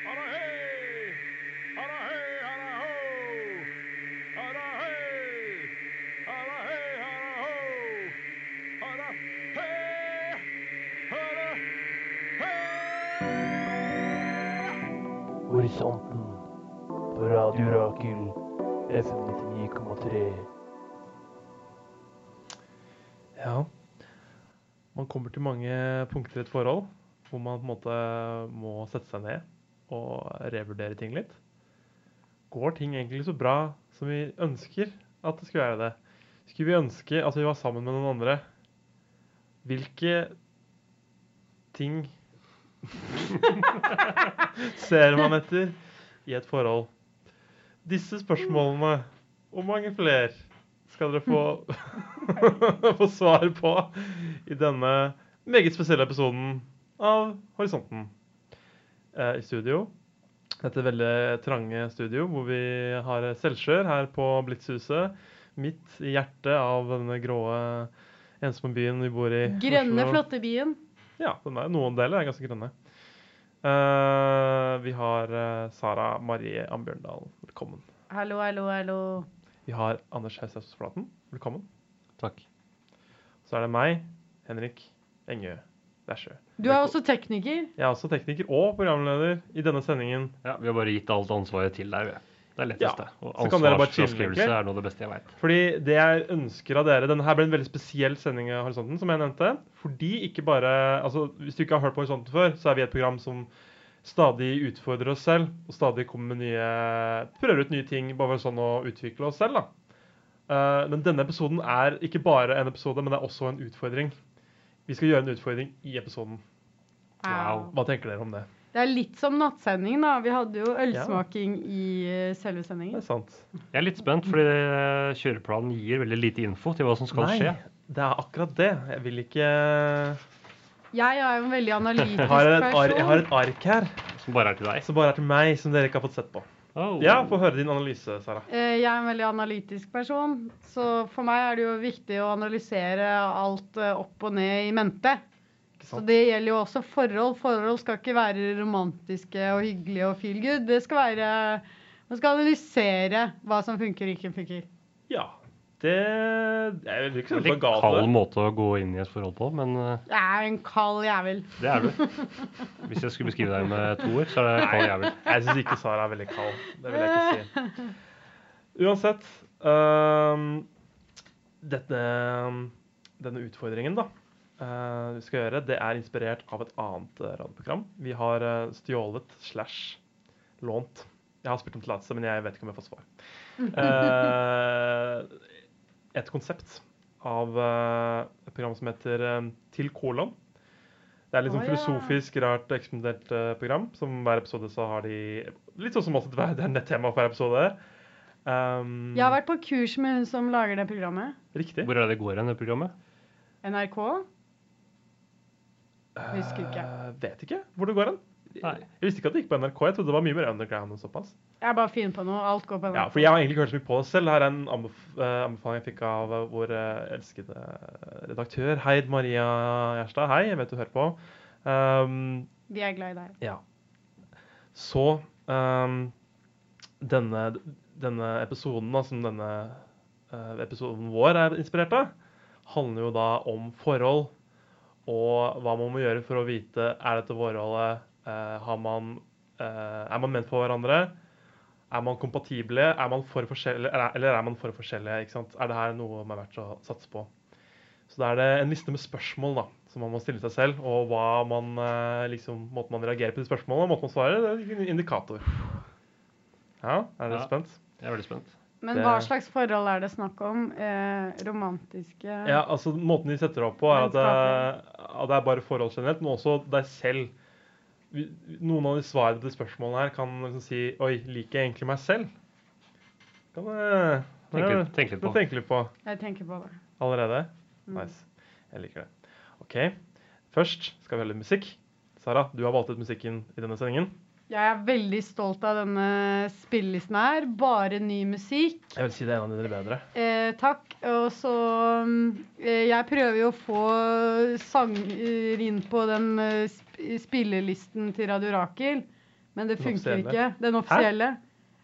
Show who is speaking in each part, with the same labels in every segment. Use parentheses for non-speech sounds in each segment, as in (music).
Speaker 1: Hara hei! Hara hei, hara ho! Hara hei! Hara hei, hara ho! Hara hei! Hara hei!
Speaker 2: Horisonten på Radio Rakel FM 99,3.
Speaker 3: Ja. Man kommer til mange punkter i et forhold hvor man på en måte må sette seg ned og revurdere ting litt. Går ting egentlig så bra som vi ønsker at det skulle være det? Skulle vi ønske at vi var sammen med noen andre? Hvilke ting (laughs) ser man etter i et forhold? Disse spørsmålene og mange flere skal dere få, (laughs) få svar på i denne meget spesielle episoden av Horisonten. Eh, I studio, dette veldig trange studio hvor vi har Selvskjør her på Blitzhuset. Midt i hjertet av denne grå, ensomme byen vi bor i.
Speaker 4: Grønne,
Speaker 3: Oslo.
Speaker 4: flotte byen.
Speaker 3: Ja, den er, noen deler er ganske grønne. Eh, vi har eh, Sara Marie Ambjørndalen, velkommen.
Speaker 4: Hallo, hallo, hallo.
Speaker 3: Vi har Anders Haushaus Flaten, velkommen.
Speaker 5: Takk.
Speaker 3: Så er det meg, Henrik Engø Dæsjø.
Speaker 4: Du er også tekniker.
Speaker 3: Jeg er også tekniker og programleder i denne sendingen.
Speaker 5: Ja, Vi har bare gitt alt ansvaret til deg. vi. Det er letteste.
Speaker 3: Ja,
Speaker 5: Og
Speaker 3: så kan dere bare chille,
Speaker 5: ansvarsfraskrivelse
Speaker 3: egentlig.
Speaker 5: er noe av det beste jeg veit.
Speaker 3: Fordi det jeg ønsker av dere Denne her ble en veldig spesiell sending av Horisonten, som jeg nevnte. Fordi ikke bare Altså, hvis du ikke har hørt på Horisonten før, så er vi et program som stadig utfordrer oss selv, og stadig kommer med nye Prøver ut nye ting, bare for sånn å utvikle oss selv, da. Eh, men denne episoden er ikke bare en episode, men det er også en utfordring. Vi skal gjøre en utfordring i episoden.
Speaker 5: Wow.
Speaker 3: Hva tenker dere om det?
Speaker 4: Det er litt som nattsendingen, da. Vi hadde jo ølsmaking i eh, selve
Speaker 3: Det
Speaker 4: sendingen.
Speaker 3: er sant.
Speaker 5: Jeg er litt spent, fordi eh, kjøreplanen gir veldig lite info til hva som skal
Speaker 3: Nei,
Speaker 5: skje.
Speaker 3: det er akkurat det. Jeg vil ikke Jeg
Speaker 4: Jeg er jo en
Speaker 3: (laughs)
Speaker 4: veldig analytisk
Speaker 3: har et, ar jeg har
Speaker 4: person.
Speaker 3: et ark her
Speaker 5: Som bare er til deg.
Speaker 3: som bare er til meg, som dere ikke har fått sett på.
Speaker 5: Oh.
Speaker 3: Ja, få høre din analyse, Sara.
Speaker 4: Eh, Jeg er en veldig analytisk person, så for meg er det jo viktig å analysere alt eh, opp og ned i mente.
Speaker 3: Ikke
Speaker 4: Så
Speaker 3: sant?
Speaker 4: det gjelder jo også forhold. Forhold skal ikke være romantiske og hyggelige og feel good. Det skal være Man skal analysere hva som funker og ikke funker.
Speaker 3: Ja. Det Jeg vil ikke si at
Speaker 5: Veldig
Speaker 3: det var galt.
Speaker 5: kald
Speaker 3: det.
Speaker 5: måte å gå inn i et forhold på, men eh,
Speaker 4: Jeg er en kald jævel.
Speaker 5: det er du. Hvis jeg skulle beskrive deg med to ord, så er det kald jævel.
Speaker 3: Jeg syns ikke Sara er veldig kald. Det vil jeg ikke si. Uansett øhm, dette, Denne utfordringen da, øh, vi skal gjøre, det er inspirert av et annet øh, radioprogram. Vi har øh, stjålet slash lånt. Jeg har spurt om tillatelse, men jeg vet ikke om jeg har fått svar. Eh, et konsept av eh, et program som heter eh, Til kolon. Det er litt sånn
Speaker 4: Å, ja.
Speaker 3: filosofisk, rart, eksperimentelt eh, program. Som hver episode så har de Litt sånn som oss, det er nettema for hver episode. Um,
Speaker 4: Jeg har vært på kurs med hun som lager det programmet.
Speaker 3: Riktig.
Speaker 5: Hvor er det det går hen, det programmet?
Speaker 4: NRK. Husker ikke.
Speaker 3: Eh, vet ikke hvor det går hen.
Speaker 5: Nei.
Speaker 3: Jeg visste ikke at det gikk på NRK. Jeg trodde det var mye mer underground enn såpass.
Speaker 4: Jeg bare finner på noe. Alt går på
Speaker 3: Ja,
Speaker 4: NRK.
Speaker 3: for jeg har egentlig ikke hørt så mye på det selv. Her er en anbef eh, anbefaling jeg fikk av eh, vår eh, elskede redaktør. Hei, Maria Gjerstad. Hei, jeg vet du hører på. Um,
Speaker 4: Vi er glad i deg.
Speaker 3: ja. Så um, denne, denne episoden da, som denne eh, episoden vår er inspirert av, handler jo da om forhold og hva man må gjøre for å vite er dette forholdet eh, har man, eh, Er man ment for hverandre? Er man kompatible? Er man for forskjellige, eller, eller er man for forskjellige? Ikke sant? Er det her noe man er verdt å satse på? Så da er det en liste med spørsmål da, som man må stille seg selv, og hva man, eh, liksom, måten man reagerer på de spørsmålene, måten man svarer, det er en indikator. Ja, er dere
Speaker 5: Ja.
Speaker 3: spent?
Speaker 5: Jeg er veldig spent.
Speaker 4: Men
Speaker 3: Det-
Speaker 4: hva slags forhold er det snakk om? Eh, romantiske
Speaker 3: Ja, altså Måten de setter det opp på, er at det, at det er bare forhold generelt, men også deg selv. Vi- Noen av de svarene til spørsmålene her kan liksom si Oi, liker jeg egentlig meg selv? Kan jeg
Speaker 5: Tenk litt- tenk litt på.
Speaker 3: Tenke litt på
Speaker 4: Jeg tenker på det.
Speaker 3: allerede.
Speaker 4: Mm.
Speaker 3: Nice. Jeg liker det. OK. Først skal vi høre litt musikk. Sara, du har valgt ut musikken i denne sendingen.
Speaker 4: Jeg er veldig stolt av denne spillelisten her. Bare ny musikk.
Speaker 3: Jeg vil si det er en av dine bedre.
Speaker 4: Eh, takk. Og så mm, eh, Jeg prøver jo å få sanger inn på den eh, sp- spillelisten til Radio Rakel. Men det
Speaker 3: Den
Speaker 4: funker
Speaker 3: offisielle.
Speaker 4: ikke. Den offisielle.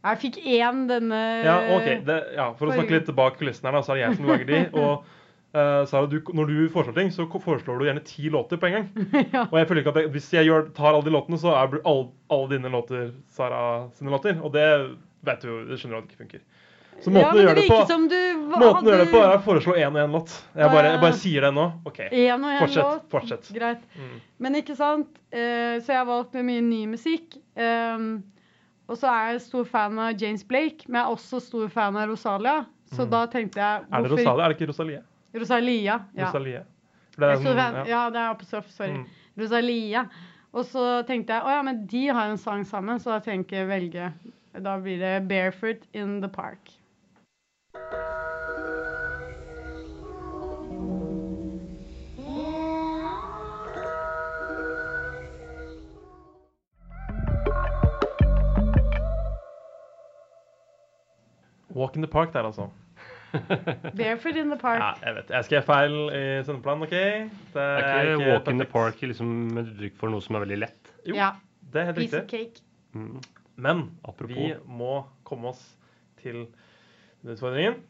Speaker 4: Jeg fikk én denne
Speaker 3: Ja, ok. Det, ja, for å
Speaker 4: Forrige
Speaker 3: snakke litt bak kulissene her, da, så er det jeg som lager
Speaker 4: (laughs)
Speaker 3: de. Og eh, Sara, du, når du foreslår ting, så ko- foreslår du gjerne ti låter på en gang.
Speaker 4: (laughs) Ja.
Speaker 3: Og jeg føler ikke at jeg, hvis jeg gjør, tar alle de låtene, så er bl- all- alle dine låter Sara sine låter. Og det vet du jo, det skjønner du at det ikke funker. Så måten
Speaker 4: ja,
Speaker 3: du
Speaker 4: men
Speaker 3: gjør det
Speaker 4: virker
Speaker 3: på
Speaker 4: som du hva-
Speaker 3: Måten du gjør det
Speaker 4: hadde
Speaker 3: på, er å foreslå én og én låt. Jeg bare, jeg
Speaker 4: Ah.
Speaker 3: bare sier det nå. OK.
Speaker 4: En og en
Speaker 3: Fortsett,
Speaker 4: låt.
Speaker 3: fortsett.
Speaker 4: Greit.
Speaker 3: Mm.
Speaker 4: Men ikke sant? Eh, så jeg har valgt med mye ny musikk. Ehm, og så er jeg stor fan av James Blake, men jeg er også stor fan av Rosalia. Så
Speaker 3: Mm.
Speaker 4: da tenkte jeg
Speaker 3: Er det
Speaker 4: hvorfor-
Speaker 3: Rosalie? Er det ikke Rosalie?
Speaker 4: Rosalia. Ja.
Speaker 3: Rosalie. For
Speaker 4: Jeg
Speaker 3: det
Speaker 4: er
Speaker 3: er
Speaker 4: stor fan,
Speaker 3: sånn, ja.
Speaker 4: ja, det er apostrof. Sorry.
Speaker 3: Mm.
Speaker 4: Rosalia. Og så tenkte jeg å ja, men de har en sang sammen, så da tenker jeg velge. Da blir det 'Barefoot in the Park'.
Speaker 3: Walk in the park der, altså.
Speaker 4: Barefoot in the Park.
Speaker 3: (laughs) Ja, jeg vet. Jeg skrev feil i sendeplanen, OK? Det
Speaker 5: Det er ikke walk in the
Speaker 3: perfekt.
Speaker 5: park liksom, med uttrykk for noe som er veldig lett.
Speaker 3: Jo,
Speaker 4: Ja,
Speaker 3: det er helt riktig.
Speaker 4: Piece of cake.
Speaker 5: Mm.
Speaker 3: Men
Speaker 5: Apropos.
Speaker 3: vi må komme oss til denne utfordringen.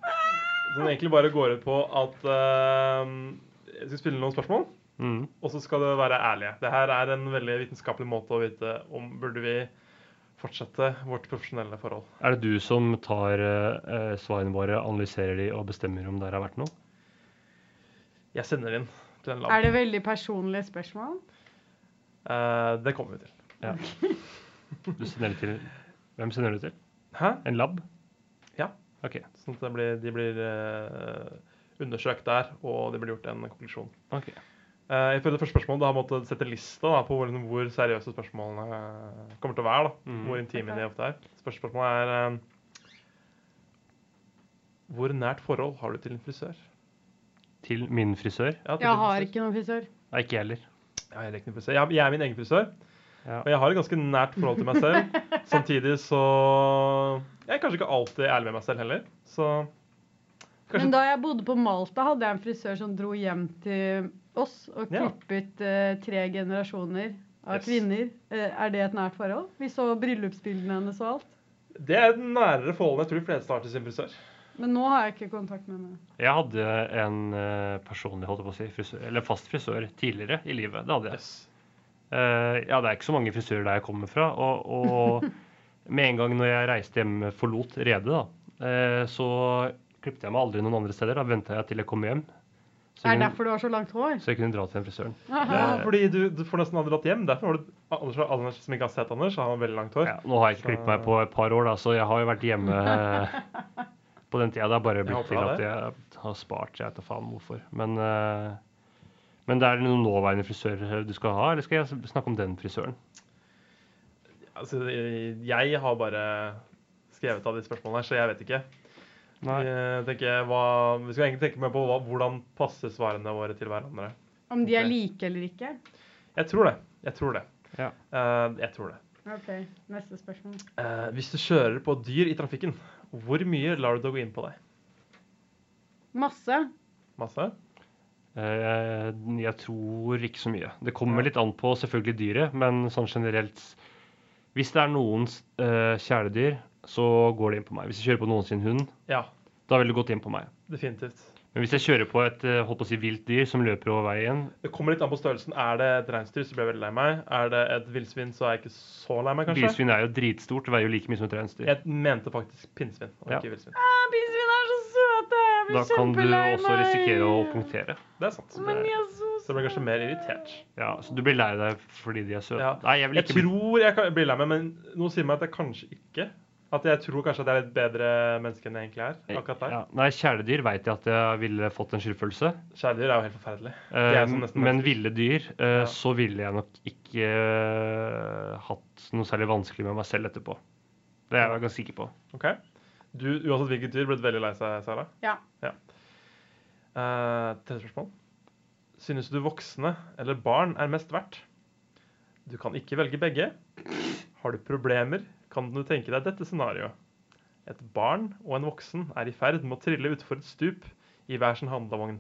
Speaker 3: Som egentlig bare går ut på at eh, jeg skal spille noen spørsmål,
Speaker 5: Mm.
Speaker 3: og så skal det være ærlige. Det her er en veldig vitenskapelig måte å vite om burde vi fortsette vårt profesjonelle forhold.
Speaker 5: Er det du som tar eh, eh, svarene våre, analyserer de og bestemmer om det her har vært noe?
Speaker 3: Jeg sender inn til en lab.
Speaker 4: Er det veldig personlige spørsmål?
Speaker 3: Eh, det kommer vi til.
Speaker 5: Ja. Du sender det til Hvem sender du til?
Speaker 3: Hæ?
Speaker 5: En lab?
Speaker 3: Ja.
Speaker 5: OK.
Speaker 3: Sånn at det blir, de blir eh, undersøkt der, og det blir gjort en konklusjon.
Speaker 5: ok.
Speaker 3: Uh, Ifølge første spørsmål da har jeg måttet sette lista da, på hvor, hvor seriøse spørsmålene eh, kommer til å være. da,
Speaker 5: Mhm.
Speaker 3: Hvor intime
Speaker 4: Ok.
Speaker 3: de ofte er. Første spørsmål er eh, Hvor nært forhold har du til en frisør?
Speaker 5: Til min frisør?
Speaker 3: Ja, til
Speaker 4: Jeg
Speaker 3: en
Speaker 4: har
Speaker 3: frisør.
Speaker 4: ikke noen frisør.
Speaker 5: Nei, ikke jeg heller.
Speaker 3: Jeg, har heller ikke noen frisør. Jeg, jeg er min egen frisør,
Speaker 5: Ja.
Speaker 3: og jeg har et ganske nært forhold til meg
Speaker 4: (laughs)
Speaker 3: selv. Samtidig så Jeg er kanskje ikke alltid ærlig med meg selv heller. Så kanskje
Speaker 4: Men da jeg bodde på Malta, hadde jeg en frisør som dro hjem til oss og
Speaker 3: Ja.
Speaker 4: klippet eh, tre generasjoner av
Speaker 3: Yes.
Speaker 4: kvinner. Eh, er det et nært forhold? Vi så bryllupsbildene hennes og alt.
Speaker 3: Det er et nærere forhold enn jeg tror de fleste har til sin frisør.
Speaker 4: Men nå har jeg ikke kontakt med henne.
Speaker 5: Jeg hadde en eh, personlig holdt jeg på å si, frisør, eller fast frisør tidligere i livet. Det hadde jeg.
Speaker 3: Yes.
Speaker 5: Eh, ja, det er ikke så mange frisører der jeg kommer fra. Og,
Speaker 4: (laughs)
Speaker 5: og med en gang når jeg reiste hjem, forlot redet, da, eh, så klippet jeg meg aldri noen andre steder. Da venta jeg til jeg kom hjem, så
Speaker 4: Er det
Speaker 5: jeg, kunne,
Speaker 4: derfor du har så langt hår?
Speaker 5: så jeg kunne dra til den frisøren.
Speaker 3: Ja, fordi du, du får nesten aldri dratt hjem. Derfor har du Anders, Anders som ikke har sett Anders, han har veldig langt hår.
Speaker 5: Ja, nå har jeg ikke
Speaker 3: Så-
Speaker 5: klippet meg på et par år, da, så jeg har jo vært hjemme eh, på den tida. Det har bare
Speaker 3: Jeg
Speaker 5: blitt
Speaker 3: håper
Speaker 5: til
Speaker 3: det er
Speaker 5: at jeg har spart. Jeg vet da faen hvorfor. Men, eh, men det er noen nåværende frisør du skal ha, eller skal jeg snakke om den frisøren?
Speaker 3: Altså, jeg har bare skrevet av de spørsmålene her, så jeg vet ikke. Jeg tenker, hva, vi skal egentlig tenke mer på hva, hvordan passer svarene våre til hverandre.
Speaker 4: (laughs) Om de er like eller ikke?
Speaker 3: Jeg tror det. Jeg tror det.
Speaker 5: Ja.
Speaker 3: Eh, jeg tror det.
Speaker 4: OK, neste spørsmål.
Speaker 3: Eh, hvis du kjører på dyr i trafikken, hvor mye lar du det gå inn på deg?
Speaker 4: Masse.
Speaker 3: Masse?
Speaker 5: Eh, jeg tror ikke så mye. Det kommer
Speaker 3: Ja.
Speaker 5: litt an på selvfølgelig dyret, men sånn generelt Hvis det er noens eh, kjæledyr, så går det inn på meg. Hvis jeg kjører på noen sin hund,
Speaker 3: Ja,
Speaker 5: da vil det gått inn på meg.
Speaker 3: definitivt.
Speaker 5: Men hvis jeg kjører på et eh, holdt på å si, vilt dyr som løper over veien,
Speaker 3: Det kommer litt an på størrelsen. Er det et reinsdyr, så blir jeg veldig lei meg. Er det et villsvin, så er jeg ikke så lei meg, kanskje.
Speaker 5: Bilsvin er jo dritstort, det veier jo like mye som et reinsdyr.
Speaker 3: Jeg mente faktisk pinnsvin, og
Speaker 5: Ja.
Speaker 3: ikke villsvin.
Speaker 4: Ah, Pinnsvin er så søte! Jeg blir
Speaker 5: Da kan du
Speaker 4: kjempelei meg!
Speaker 5: også risikere å punktere.
Speaker 3: Det er sant.
Speaker 4: Men de er så
Speaker 3: Så jeg blir kanskje mer irritert.
Speaker 5: Ja, så du blir lei deg fordi de er søte.
Speaker 3: Ja.
Speaker 5: Nei, jeg vil
Speaker 3: Jeg
Speaker 5: ikke bli
Speaker 3: tror jeg kan bli lei meg, men noe sier meg at jeg kanskje ikke. At jeg tror kanskje at jeg er et bedre menneske enn jeg egentlig er. akkurat der.
Speaker 5: ja. Nei, kjæledyr vet jeg at jeg ville fått en skyldfølelse.
Speaker 3: Kjæledyr er jo helt forferdelig.
Speaker 5: Eh,
Speaker 3: Det er som nesten
Speaker 5: men
Speaker 3: mennesker.
Speaker 5: ville dyr, eh,
Speaker 3: Ja.
Speaker 5: så ville jeg nok ikke eh, hatt noe særlig vanskelig med meg selv etterpå. Det er jeg ganske sikker på.
Speaker 3: Ok? Du, uansett hvilket dyr, ble du veldig lei seg, Sara.
Speaker 4: Ja.
Speaker 3: Eh, tredje spørsmål. Synes du voksne eller barn er mest verdt? Du kan ikke velge begge. Har du problemer, kan du tenke deg dette scenarioet. Et barn og en voksen er i ferd med å trille utfor et stup i hver sin handlevogn.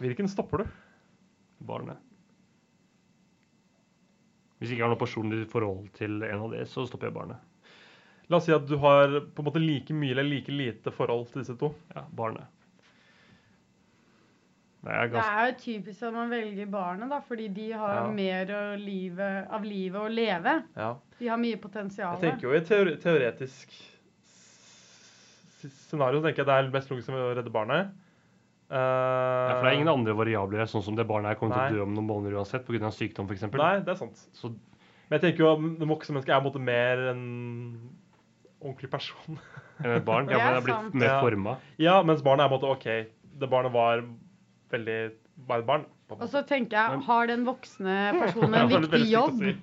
Speaker 3: Hvilken stopper du?
Speaker 5: Barnet. Hvis jeg ikke har noe personlig forhold til en av de, så stopper jeg barnet.
Speaker 3: La oss si at du har på en måte like mye eller like lite forhold til disse to.
Speaker 5: Ja, barnet. Nei, jeg er
Speaker 4: Det
Speaker 5: ganske...
Speaker 4: er jo typisk at man velger barnet, da, fordi de har
Speaker 3: Ja.
Speaker 4: mer å livet, av livet å leve.
Speaker 3: Ja.
Speaker 4: De har mye potensial.
Speaker 3: Jeg tenker jo i teori teoretisk s- s- scenario tenker jeg det er mest logisk å redde barnet. Eh,
Speaker 5: Ja, for det er ingen andre variabler, sånn som det barnet her kommer
Speaker 3: Nei.
Speaker 5: til å dø om noen måneder uansett, pga. sykdom f.eks.
Speaker 3: Nei, det er sant.
Speaker 5: Så
Speaker 3: Men jeg tenker jo at det voksne mennesket er på en måte mer en ordentlig person. (laughs)
Speaker 5: eh, barn ja,
Speaker 4: Det
Speaker 5: men
Speaker 4: er
Speaker 5: det er blitt
Speaker 4: sant.
Speaker 5: mer
Speaker 3: Ja.
Speaker 5: forma.
Speaker 3: ja, mens barnet er på en måte OK. Det barnet var veldig bare et barn. på en
Speaker 4: Og
Speaker 3: måte.
Speaker 4: så tenker jeg, har den voksne
Speaker 3: (laughs)
Speaker 4: personen en
Speaker 3: Det var
Speaker 4: viktig
Speaker 3: veldig stygt å
Speaker 4: jobb?
Speaker 3: si.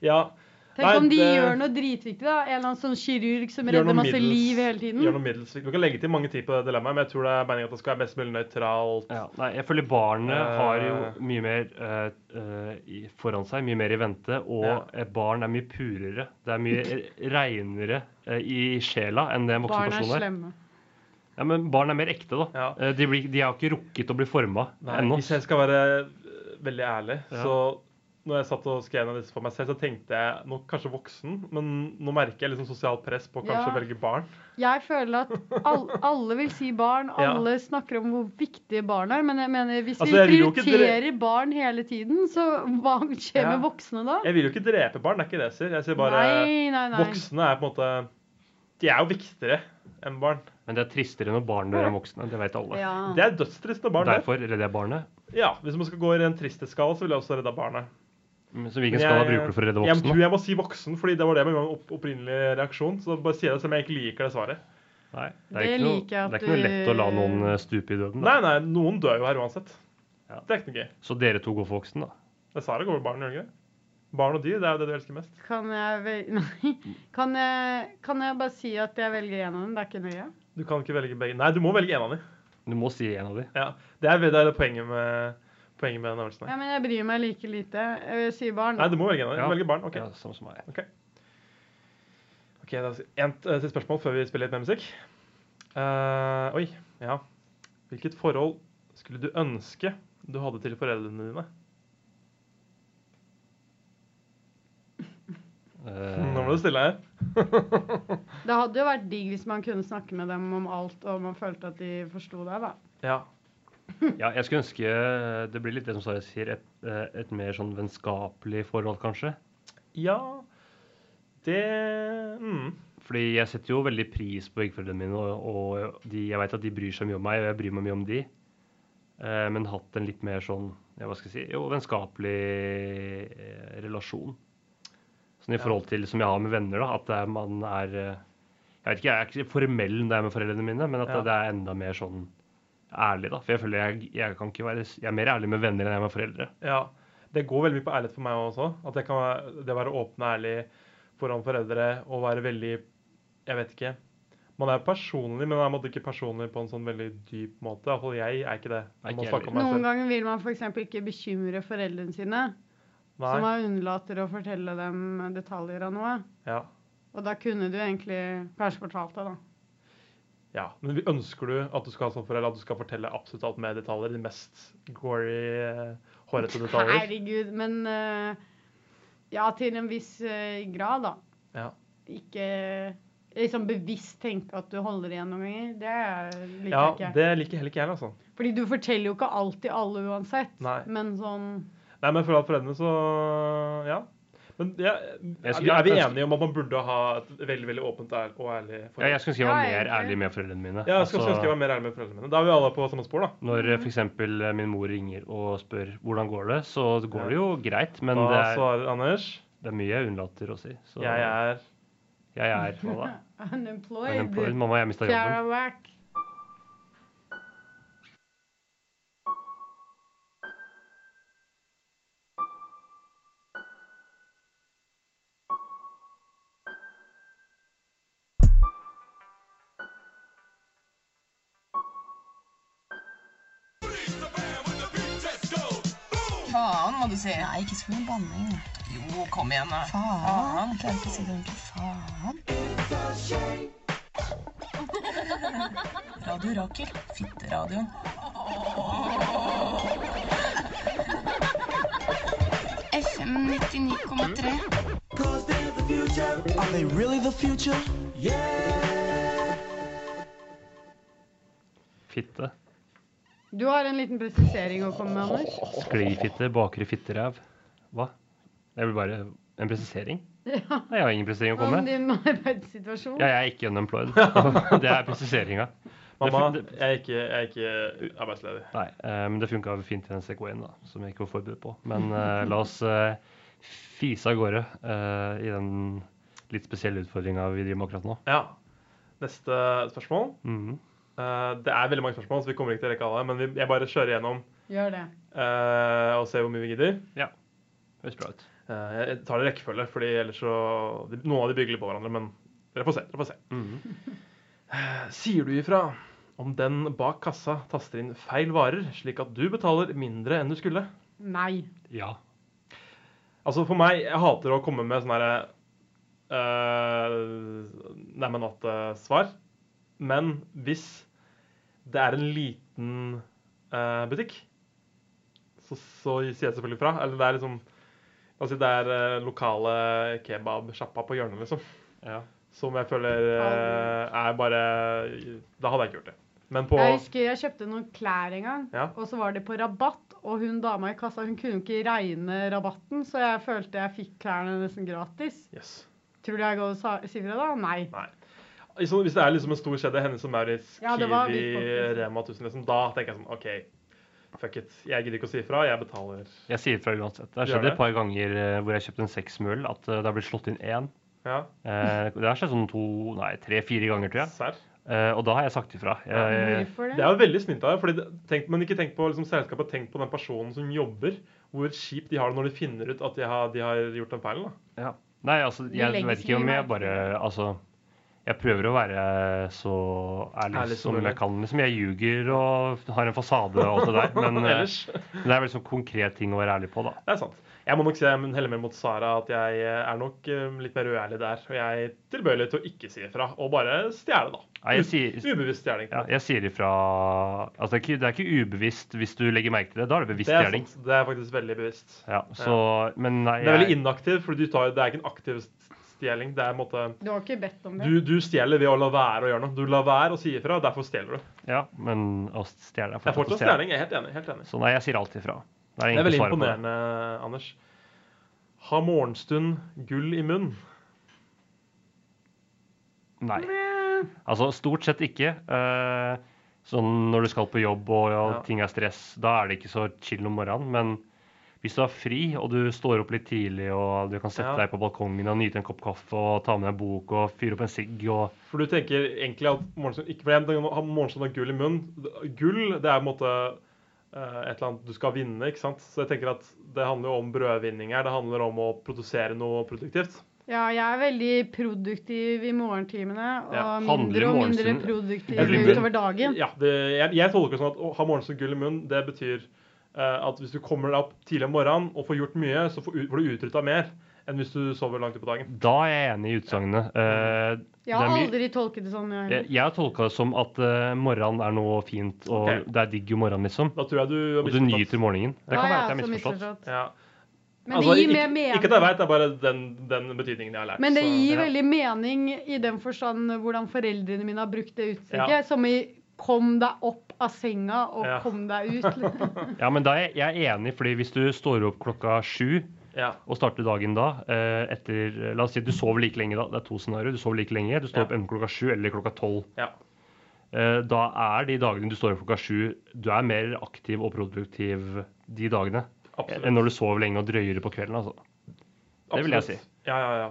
Speaker 3: Ja, Nei,
Speaker 4: Tenk om de
Speaker 3: det-
Speaker 4: gjør noe dritviktig, da. En eller annen sånn kirurg som
Speaker 3: Gjør noe
Speaker 4: redder masse
Speaker 3: middels-
Speaker 4: liv hele tiden.
Speaker 3: gjør noe middels. Du kan legge til mange ting på det dilemmaet, men jeg tror det er meningen at det skal være mest mulig nøytralt.
Speaker 5: Ja. Nei, jeg føler barnet
Speaker 3: Eh.
Speaker 5: har jo mye mer eh, eh, i- foran seg, mye mer i vente, og
Speaker 3: Ja.
Speaker 5: et barn er mye purere. Det er mye
Speaker 3: (laughs)
Speaker 5: reinere eh, i sjela enn det en voksen
Speaker 4: Barn er
Speaker 5: person er.
Speaker 4: slemme.
Speaker 5: Ja, men barn er mer ekte, da.
Speaker 3: Ja.
Speaker 5: Eh, De, blir, de har ikke rukket å bli forma
Speaker 3: Nei,
Speaker 5: ennå.
Speaker 3: hvis jeg skal være eh, veldig ærlig,
Speaker 5: Ja.
Speaker 3: så når jeg satt og skrev en av disse for meg selv, så tenkte jeg nok kanskje voksen, men nå merker jeg liksom sosialt press på å kanskje
Speaker 4: Ja.
Speaker 3: velge barn.
Speaker 4: Jeg føler at all, alle vil si barn.
Speaker 3: Ja.
Speaker 4: Alle snakker om hvor viktige barn er. Men jeg mener, hvis
Speaker 3: Altså, jeg
Speaker 4: vi
Speaker 3: vil jo ikke dre-
Speaker 4: prioriterer barn hele tiden, så hva skjer
Speaker 3: Ja.
Speaker 4: med voksne da?
Speaker 3: Jeg vil jo ikke drepe barn, det er ikke det jeg sier. Jeg sier bare
Speaker 4: nei, nei, nei.
Speaker 3: voksne er på en måte De er jo viktigere enn barn.
Speaker 5: Men det er tristere når barn dør enn voksne. Det vet alle.
Speaker 4: Ja.
Speaker 3: Det er dødstrist når barn dør.
Speaker 5: Derfor redder jeg barnet.
Speaker 3: Ja, hvis man skal gå i en tristhetsskala, så ville jeg også redda barnet.
Speaker 5: Så hvilken
Speaker 3: Men
Speaker 5: skala
Speaker 3: jeg-
Speaker 5: bruker du for å redde
Speaker 3: Jeg tror
Speaker 5: voksne?
Speaker 3: jeg må si voksen, fordi det var det med min opp opprinnelige reaksjon. Så bare sier jeg det selv om jeg ikke liker det svaret.
Speaker 5: Nei, det er
Speaker 4: Det
Speaker 5: ikke noe,
Speaker 4: liker
Speaker 5: det
Speaker 4: jeg at
Speaker 5: er ikke noe
Speaker 4: du-
Speaker 5: lett å la noen eh, stupe i døden. Da.
Speaker 3: Nei, nei, noen dør jo her uansett.
Speaker 5: Ja.
Speaker 3: Det er ikke noe gøy.
Speaker 5: Så dere to går for voksen, da.
Speaker 3: Det er Sara går over barn, gjør det ikke det? Barn og dyr, det er jo det du elsker mest.
Speaker 4: Kan jeg vel... (laughs) Nei. Kan jeg, kan jeg bare si at jeg velger en av dem? Det er ikke nøye.
Speaker 3: Du kan ikke velge begge. Nei, du må velge en av dem.
Speaker 5: Du må si en av de.
Speaker 3: Ja. Det er det, er det poenget med, poenget med den øvelsen. her.
Speaker 4: Ja, men jeg bryr meg like lite. Jeg sier barn.
Speaker 3: Nei, du må velge en av dem.
Speaker 5: Ja.
Speaker 3: Velge barn. OK.
Speaker 5: Ja, samme som meg.
Speaker 3: Ok, da s- En eh, siste spørsmål før vi spiller litt mer musikk. Eh, oi, ja. Hvilket forhold skulle du ønske du hadde til foreldrene dine?
Speaker 5: Eh,
Speaker 3: Nå må du stille her.
Speaker 4: Det hadde jo vært digg hvis man kunne snakke med dem om alt, og man følte at de forsto deg, da.
Speaker 3: (laughs) Ja.
Speaker 5: ja, jeg skulle ønske eh, det blir litt det som Sara sier, et, eh, et mer sånn vennskapelig forhold, kanskje.
Speaker 3: Ja Det mm.
Speaker 5: Fordi jeg setter jo veldig pris på eggforeldrene mine, og, og de, jeg vet at de bryr seg mye om meg, og jeg bryr meg mye om de. Eh, men hatt en litt mer sånn, ja, hva skal jeg si, jo, vennskapelig eh, relasjon. Sånn i
Speaker 3: Ja.
Speaker 5: forhold til som jeg har med venner, da, at det er, man er eh, Jeg vet ikke, jeg er ikke formell når det er med foreldrene mine, men at
Speaker 3: Ja.
Speaker 5: det er enda mer sånn ærlig, da. For jeg føler jeg, jeg kan ikke være Jeg er mer ærlig med venner enn jeg er med foreldre.
Speaker 3: Ja. Det går veldig mye på ærlighet for meg også. At jeg kan være, det å være åpen og ærlig foran foreldre og være veldig Jeg vet ikke. Man er personlig, men man er på en måte ikke personlig på en sånn veldig dyp måte. Iallfall jeg er ikke det.
Speaker 5: Nei,
Speaker 3: når man
Speaker 5: ikke
Speaker 3: snakker om meg
Speaker 4: Noen
Speaker 3: selv.
Speaker 4: ganger vil man f.eks. ikke bekymre foreldrene sine, så
Speaker 3: Nei.
Speaker 4: man unnlater å fortelle dem detaljer av noe.
Speaker 3: Ja.
Speaker 4: Og da kunne du egentlig kanskje fortalt det, da.
Speaker 3: ja. Men vi ønsker du at du skal ha sånn foreldre, at du skal fortelle absolutt alt med detaljer? De mest gory, eh, hårete detaljer?
Speaker 4: Herregud, men eh, Ja, til en viss eh, grad, da.
Speaker 3: Ja.
Speaker 4: Ikke liksom bevisst tenke at du holder igjen noen ganger. Det liker
Speaker 3: Ja,
Speaker 4: jeg ikke.
Speaker 3: det liker heller ikke jeg. altså.
Speaker 4: Fordi du forteller jo ikke alltid alle uansett.
Speaker 3: Nei.
Speaker 4: Men sånn
Speaker 3: Nei, men for alle foreldrene, så Ja. Men ja,
Speaker 5: Jeg
Speaker 3: er, vi,
Speaker 5: skulle-
Speaker 3: er vi
Speaker 5: jeg-
Speaker 3: enige om at man burde ha et veldig veldig åpent ær- og ærlig
Speaker 5: Ja,
Speaker 3: forhold?
Speaker 5: jeg skulle ønske jeg
Speaker 4: Ja,
Speaker 5: var mer
Speaker 4: egentlig.
Speaker 5: ærlig med foreldrene mine.
Speaker 3: Ja, jeg skal
Speaker 5: Altså-
Speaker 3: altså, skrive mer ærlig med foreldrene mine. Da er vi alle på samme spor, da.
Speaker 5: Når eh, f.eks. min mor ringer og spør hvordan går det, så går det jo greit. Men
Speaker 3: da
Speaker 5: det er,
Speaker 3: svarer Anders
Speaker 5: det er mye jeg unnlater å si. Så
Speaker 3: altså- Jeg er
Speaker 5: jeg er hva
Speaker 4: (laughs)
Speaker 5: da?
Speaker 4: Unemployed.
Speaker 5: Unemployed. Mamma, jeg mista
Speaker 4: Tara
Speaker 5: jobben.
Speaker 4: Wack.
Speaker 6: Faen, må du si. Nei, ikke så mye banning. Jo, kom igjen, da. Faen. Klarer ikke å si det ordentlig. Faen. Radio Rakel. Fitteradioen. FM 99,3.
Speaker 7: Are they really the future?
Speaker 5: Fitte.
Speaker 4: Du har en liten presisering å komme med, Anders.
Speaker 5: Sklifitte, bakre fitteræv. Hva? Det blir bare en presisering.
Speaker 4: (laughs) Ja,
Speaker 5: Nei, jeg har ingen presisering å komme
Speaker 4: om
Speaker 5: med.
Speaker 4: din (laughs) arbeidssituasjon.
Speaker 5: Ja, jeg er ikke
Speaker 3: (laughs)
Speaker 5: unemployed. Det er presiseringa.
Speaker 3: Mamma, jeg er ikke, jeg er ikke arbeidsledig.
Speaker 5: Nei, eh, men det funka fint i den segwayen, da, som jeg ikke var forberedt på. Men (laughs) eh, la oss eh, fise av gårde eh, i den litt spesielle utfordringa vi driver med akkurat nå.
Speaker 3: Ja. Neste spørsmål.
Speaker 5: Mhm.
Speaker 3: Eh, det er veldig mange spørsmål, så vi kommer ikke til å rekke alle. Men vi, jeg bare kjører gjennom
Speaker 4: Gjør det.
Speaker 3: eh, og ser hvor mye vi gidder.
Speaker 5: Høres bra ut.
Speaker 3: Eh, jeg tar det i rekkefølge, fordi ellers så de, Noen av de bygger litt på hverandre, men dere får se. Dere får se.
Speaker 5: Mhm.
Speaker 3: (laughs) Sier du ifra om den bak kassa taster inn feil varer, slik at du betaler mindre enn du skulle?
Speaker 4: Nei.
Speaker 5: Ja.
Speaker 3: Altså for meg, jeg hater å komme med sånne her uh, Neimen at-svar. Men hvis det er en liten eh, butikk, så, så sier jeg selvfølgelig fra. Eller det er liksom La oss si det er eh, lokale kebabsjappa på hjørnet, liksom.
Speaker 5: Ja.
Speaker 3: Som jeg føler eh, er bare Da hadde jeg ikke gjort det. Men på
Speaker 4: Jeg husker jeg kjøpte noen klær en gang,
Speaker 3: Ja.
Speaker 4: og så var de på rabatt. Og hun dama i kassa hun kunne ikke regne rabatten, så jeg følte jeg fikk klærne nesten gratis.
Speaker 3: yes.
Speaker 4: Tror du jeg går og sa- sier fra da? Nei.
Speaker 3: Så Hvis det er liksom en stor kjede, Hennes og Maurits,
Speaker 4: Ja, det var
Speaker 3: Kiwi,
Speaker 4: litt faktisk.
Speaker 3: Rema 1000, liksom, da tenker jeg sånn OK, fuck it. Jeg gidder ikke å si ifra. Jeg betaler.
Speaker 5: Jeg sier fra uansett. Det har
Speaker 3: Gjør
Speaker 5: skjedd
Speaker 3: det.
Speaker 5: et par ganger eh, hvor jeg kjøpte en seksmøl, at eh, det har blitt slått inn én.
Speaker 3: Ja,
Speaker 5: Eh, det har skjedd sånn to, nei, tre-fire ganger, tror jeg.
Speaker 3: serr.
Speaker 5: Eh, og da har jeg sagt ifra. Jeg,
Speaker 4: Hvorfor
Speaker 3: Det
Speaker 4: det?
Speaker 3: er jo veldig snilt av deg. fordi det- tenk- Men ikke tenk på liksom, selskapet, tenk på den personen som jobber. Hvor kjipt de har det når de finner ut at de har, de har gjort den feilen. da.
Speaker 5: Ja. Nei, altså,
Speaker 4: De
Speaker 5: jeg
Speaker 4: legger
Speaker 5: vet
Speaker 4: seg
Speaker 5: ikke om
Speaker 4: i
Speaker 5: jeg
Speaker 4: verden.
Speaker 5: bare Altså, jeg prøver å være så ærlig,
Speaker 3: Ærlig som
Speaker 5: som
Speaker 3: mulig.
Speaker 5: jeg kan. Liksom. Jeg ljuger og har en fasade og alt det
Speaker 3: (laughs)
Speaker 5: der. Men eh,
Speaker 3: Ellers,
Speaker 5: det er vel sånn konkret ting å være ærlig på, da.
Speaker 3: det er sant. Jeg må nok se men heller mer mot Sara at jeg eh, er nok eh, litt mer uærlig der. Og jeg er tilbøyelig til å ikke si ifra, og bare stjele, da.
Speaker 5: Nei, jeg
Speaker 3: (laughs)
Speaker 5: sier,
Speaker 3: Ubevisst stjeling.
Speaker 5: ja, jeg sier ifra Altså, det er, ikke, det er ikke ubevisst hvis du legger merke til det. Da er det
Speaker 3: det,
Speaker 5: bevisst
Speaker 3: er
Speaker 5: gjerning.
Speaker 3: sant. det er faktisk veldig bevisst.
Speaker 5: Ja, så Men nei,
Speaker 3: Det er veldig
Speaker 5: jeg,
Speaker 3: inaktiv, for du tar, det er ikke en aktiv stjeling. Det er en måte
Speaker 4: Du har ikke bedt om det.
Speaker 3: du, du stjeler ved å la være å gjøre noe. Du lar være å si ifra, derfor stjeler du.
Speaker 5: ja, men å stjele er fortsatt å
Speaker 3: Det er fortsatt
Speaker 5: stjele.
Speaker 3: stjeling. Jeg er helt enig. Helt enig.
Speaker 5: Så nei, jeg sier alt ifra. Det er,
Speaker 3: Det er
Speaker 5: egentlig
Speaker 3: veldig
Speaker 5: svaret på det.
Speaker 3: imponerende, Anders. Ha morgenstund, gull i munn.
Speaker 5: Nei. Altså, stort sett ikke. Eh, sånn når du skal på jobb og ja,
Speaker 3: Ja.
Speaker 5: ting er stress, da er det ikke så chill om morgenen. Men hvis du har fri, og du står opp litt tidlig, og du kan sette
Speaker 3: Ja.
Speaker 5: deg på balkongen og nyte en kopp kaffe og ta med deg en bok og fyre opp en sigg og
Speaker 3: For du tenker egentlig at morgenstund ikke for jeg tenker å ha morgenstund og gull i munn. Gull, det er på en måte eh, et eller annet du skal vinne, ikke sant? Så jeg tenker at det handler jo om brødvinning her. Det handler om å produsere noe produktivt.
Speaker 4: Ja, jeg er veldig produktiv i morgentimene, og
Speaker 3: Ja,
Speaker 5: handler
Speaker 4: mindre og mindre
Speaker 5: morgenstunden-
Speaker 3: Jeg
Speaker 4: produktiv
Speaker 3: tror-
Speaker 4: utover dagen.
Speaker 3: Ja, det, jeg, jeg tolker det sånn at å ha morgenstund og gull i munn, det betyr eh, at hvis du kommer deg opp tidlig om morgenen og får gjort mye, så får, ut- får du utretta mer enn hvis du sover langt utpå dagen.
Speaker 5: Da er jeg enig i utsagnet. Eh,
Speaker 4: Jeg har
Speaker 5: det er mye-
Speaker 4: aldri tolket det sånn. Jeg.
Speaker 5: jeg, jeg har tolka det som at eh, morgenen er noe fint, og
Speaker 3: Ok.
Speaker 5: det er digg om morgenen, liksom.
Speaker 3: Da tror jeg du har
Speaker 5: Og du
Speaker 3: misforstått.
Speaker 5: nyter morgenen. Det
Speaker 4: Da
Speaker 5: kan
Speaker 4: har
Speaker 5: være at
Speaker 4: jeg
Speaker 5: jeg har
Speaker 4: også
Speaker 5: misforstått.
Speaker 3: Ja.
Speaker 4: Men
Speaker 3: Altså,
Speaker 4: det gir
Speaker 3: ikke-
Speaker 4: mer mening.
Speaker 3: Ikke at jeg vet, det er bare den, den betydningen jeg har lært.
Speaker 4: Men det
Speaker 3: så-
Speaker 4: gir
Speaker 3: ja.
Speaker 4: veldig mening i den forstand hvordan foreldrene mine har brukt det uttrykket.
Speaker 3: Ja.
Speaker 4: Som i 'kom deg opp av senga og
Speaker 3: Ja.
Speaker 4: kom
Speaker 3: (laughs)
Speaker 4: deg ut'.
Speaker 5: Ja, men da er jeg, jeg er enig, fordi hvis du står opp klokka sju
Speaker 3: Ja.
Speaker 5: og starte dagen da eh, etter La oss si at du sover like lenge, da. Det er to scenarioer. Du sover like lenge. Du står
Speaker 3: Ja.
Speaker 5: opp enten klokka sju eller klokka tolv.
Speaker 3: Ja.
Speaker 5: Eh, da er de dagene du står opp klokka sju, du er mer aktiv og produktiv de dagene
Speaker 3: Absolutt.
Speaker 5: enn når du sover lenge og drøyere på kvelden, altså. det vil jeg
Speaker 3: Absolutt.
Speaker 5: si.
Speaker 3: Ja, ja, ja.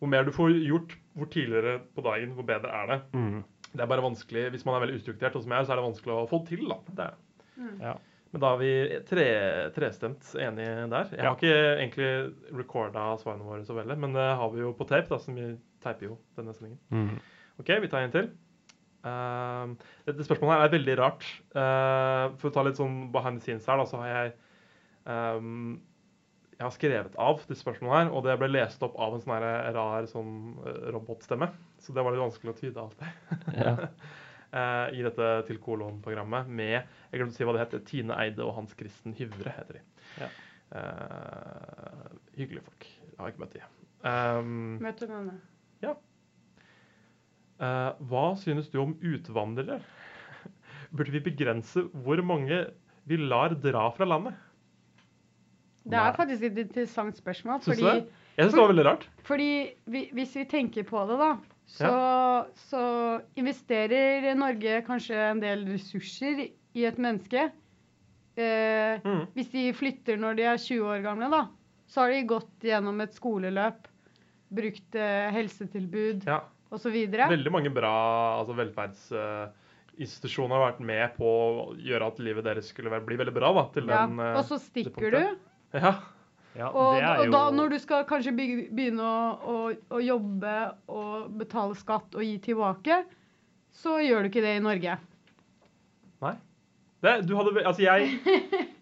Speaker 3: Hvor mer du får gjort, hvor tidligere på dagen, hvor bedre er det.
Speaker 5: Mm.
Speaker 3: Det er bare vanskelig, Hvis man er veldig ustrukturert, og som jeg, så er det vanskelig å få til. da. Det er. det.
Speaker 5: Ja.
Speaker 3: Men da er vi tre, trestemt enige der. Jeg
Speaker 5: Ja.
Speaker 3: har ikke egentlig recorda svarene våre så veldig, men det har vi jo på tape, da, som vi teiper jo denne sendingen.
Speaker 5: Mm.
Speaker 3: Ok, vi tar en til. Ehm, dette spørsmålet her er veldig rart. Ehm, for å ta litt sånn behind the scenes her, da, så har jeg ehm, Jeg har skrevet av disse spørsmålene her, og det ble lest opp av en sånn her rar sånn eh, robotstemme. Så det var litt vanskelig å tyde alt det. (laughs) Eh, I dette Til kolon-programmet med Jeg glemte å si hva det het. Tine Eide og Hans Kristen Hyvre heter de.
Speaker 5: Ja.
Speaker 3: Eh, Hyggelige folk. Jeg har ikke møtt de. Ehm,
Speaker 4: Møter noen.
Speaker 3: eh, hva synes du om utvandrere? (laughs) Burde vi begrense hvor mange vi lar dra fra landet?
Speaker 4: Det er
Speaker 5: Nei.
Speaker 4: faktisk et interessant spørsmål.
Speaker 3: Syns du
Speaker 4: fordi...
Speaker 3: det? Jeg synes det var veldig rart.
Speaker 4: Fordi vi, hvis vi tenker på det, da, så, så investerer Norge kanskje en del ressurser i et menneske. Eh,
Speaker 3: Mhm.
Speaker 4: Hvis de flytter når de er 20 år gamle, da, så har de gått gjennom et skoleløp, brukt eh, helsetilbud
Speaker 3: Ja.
Speaker 4: osv.
Speaker 3: Veldig mange bra altså velferdsinstitusjoner har vært med på å gjøre at livet deres skulle være, bli veldig bra. da, til
Speaker 4: Ja.
Speaker 3: den... eh,
Speaker 4: Og så stikker du.
Speaker 3: Ja,
Speaker 5: Ja,
Speaker 4: Og,
Speaker 5: det er
Speaker 4: og
Speaker 5: jo
Speaker 4: da, når du skal kanskje byg- begynne å, å, å jobbe og betale skatt og gi tilbake, så gjør du ikke det i Norge.
Speaker 3: det, du hadde, altså
Speaker 4: (laughs)
Speaker 3: jeg,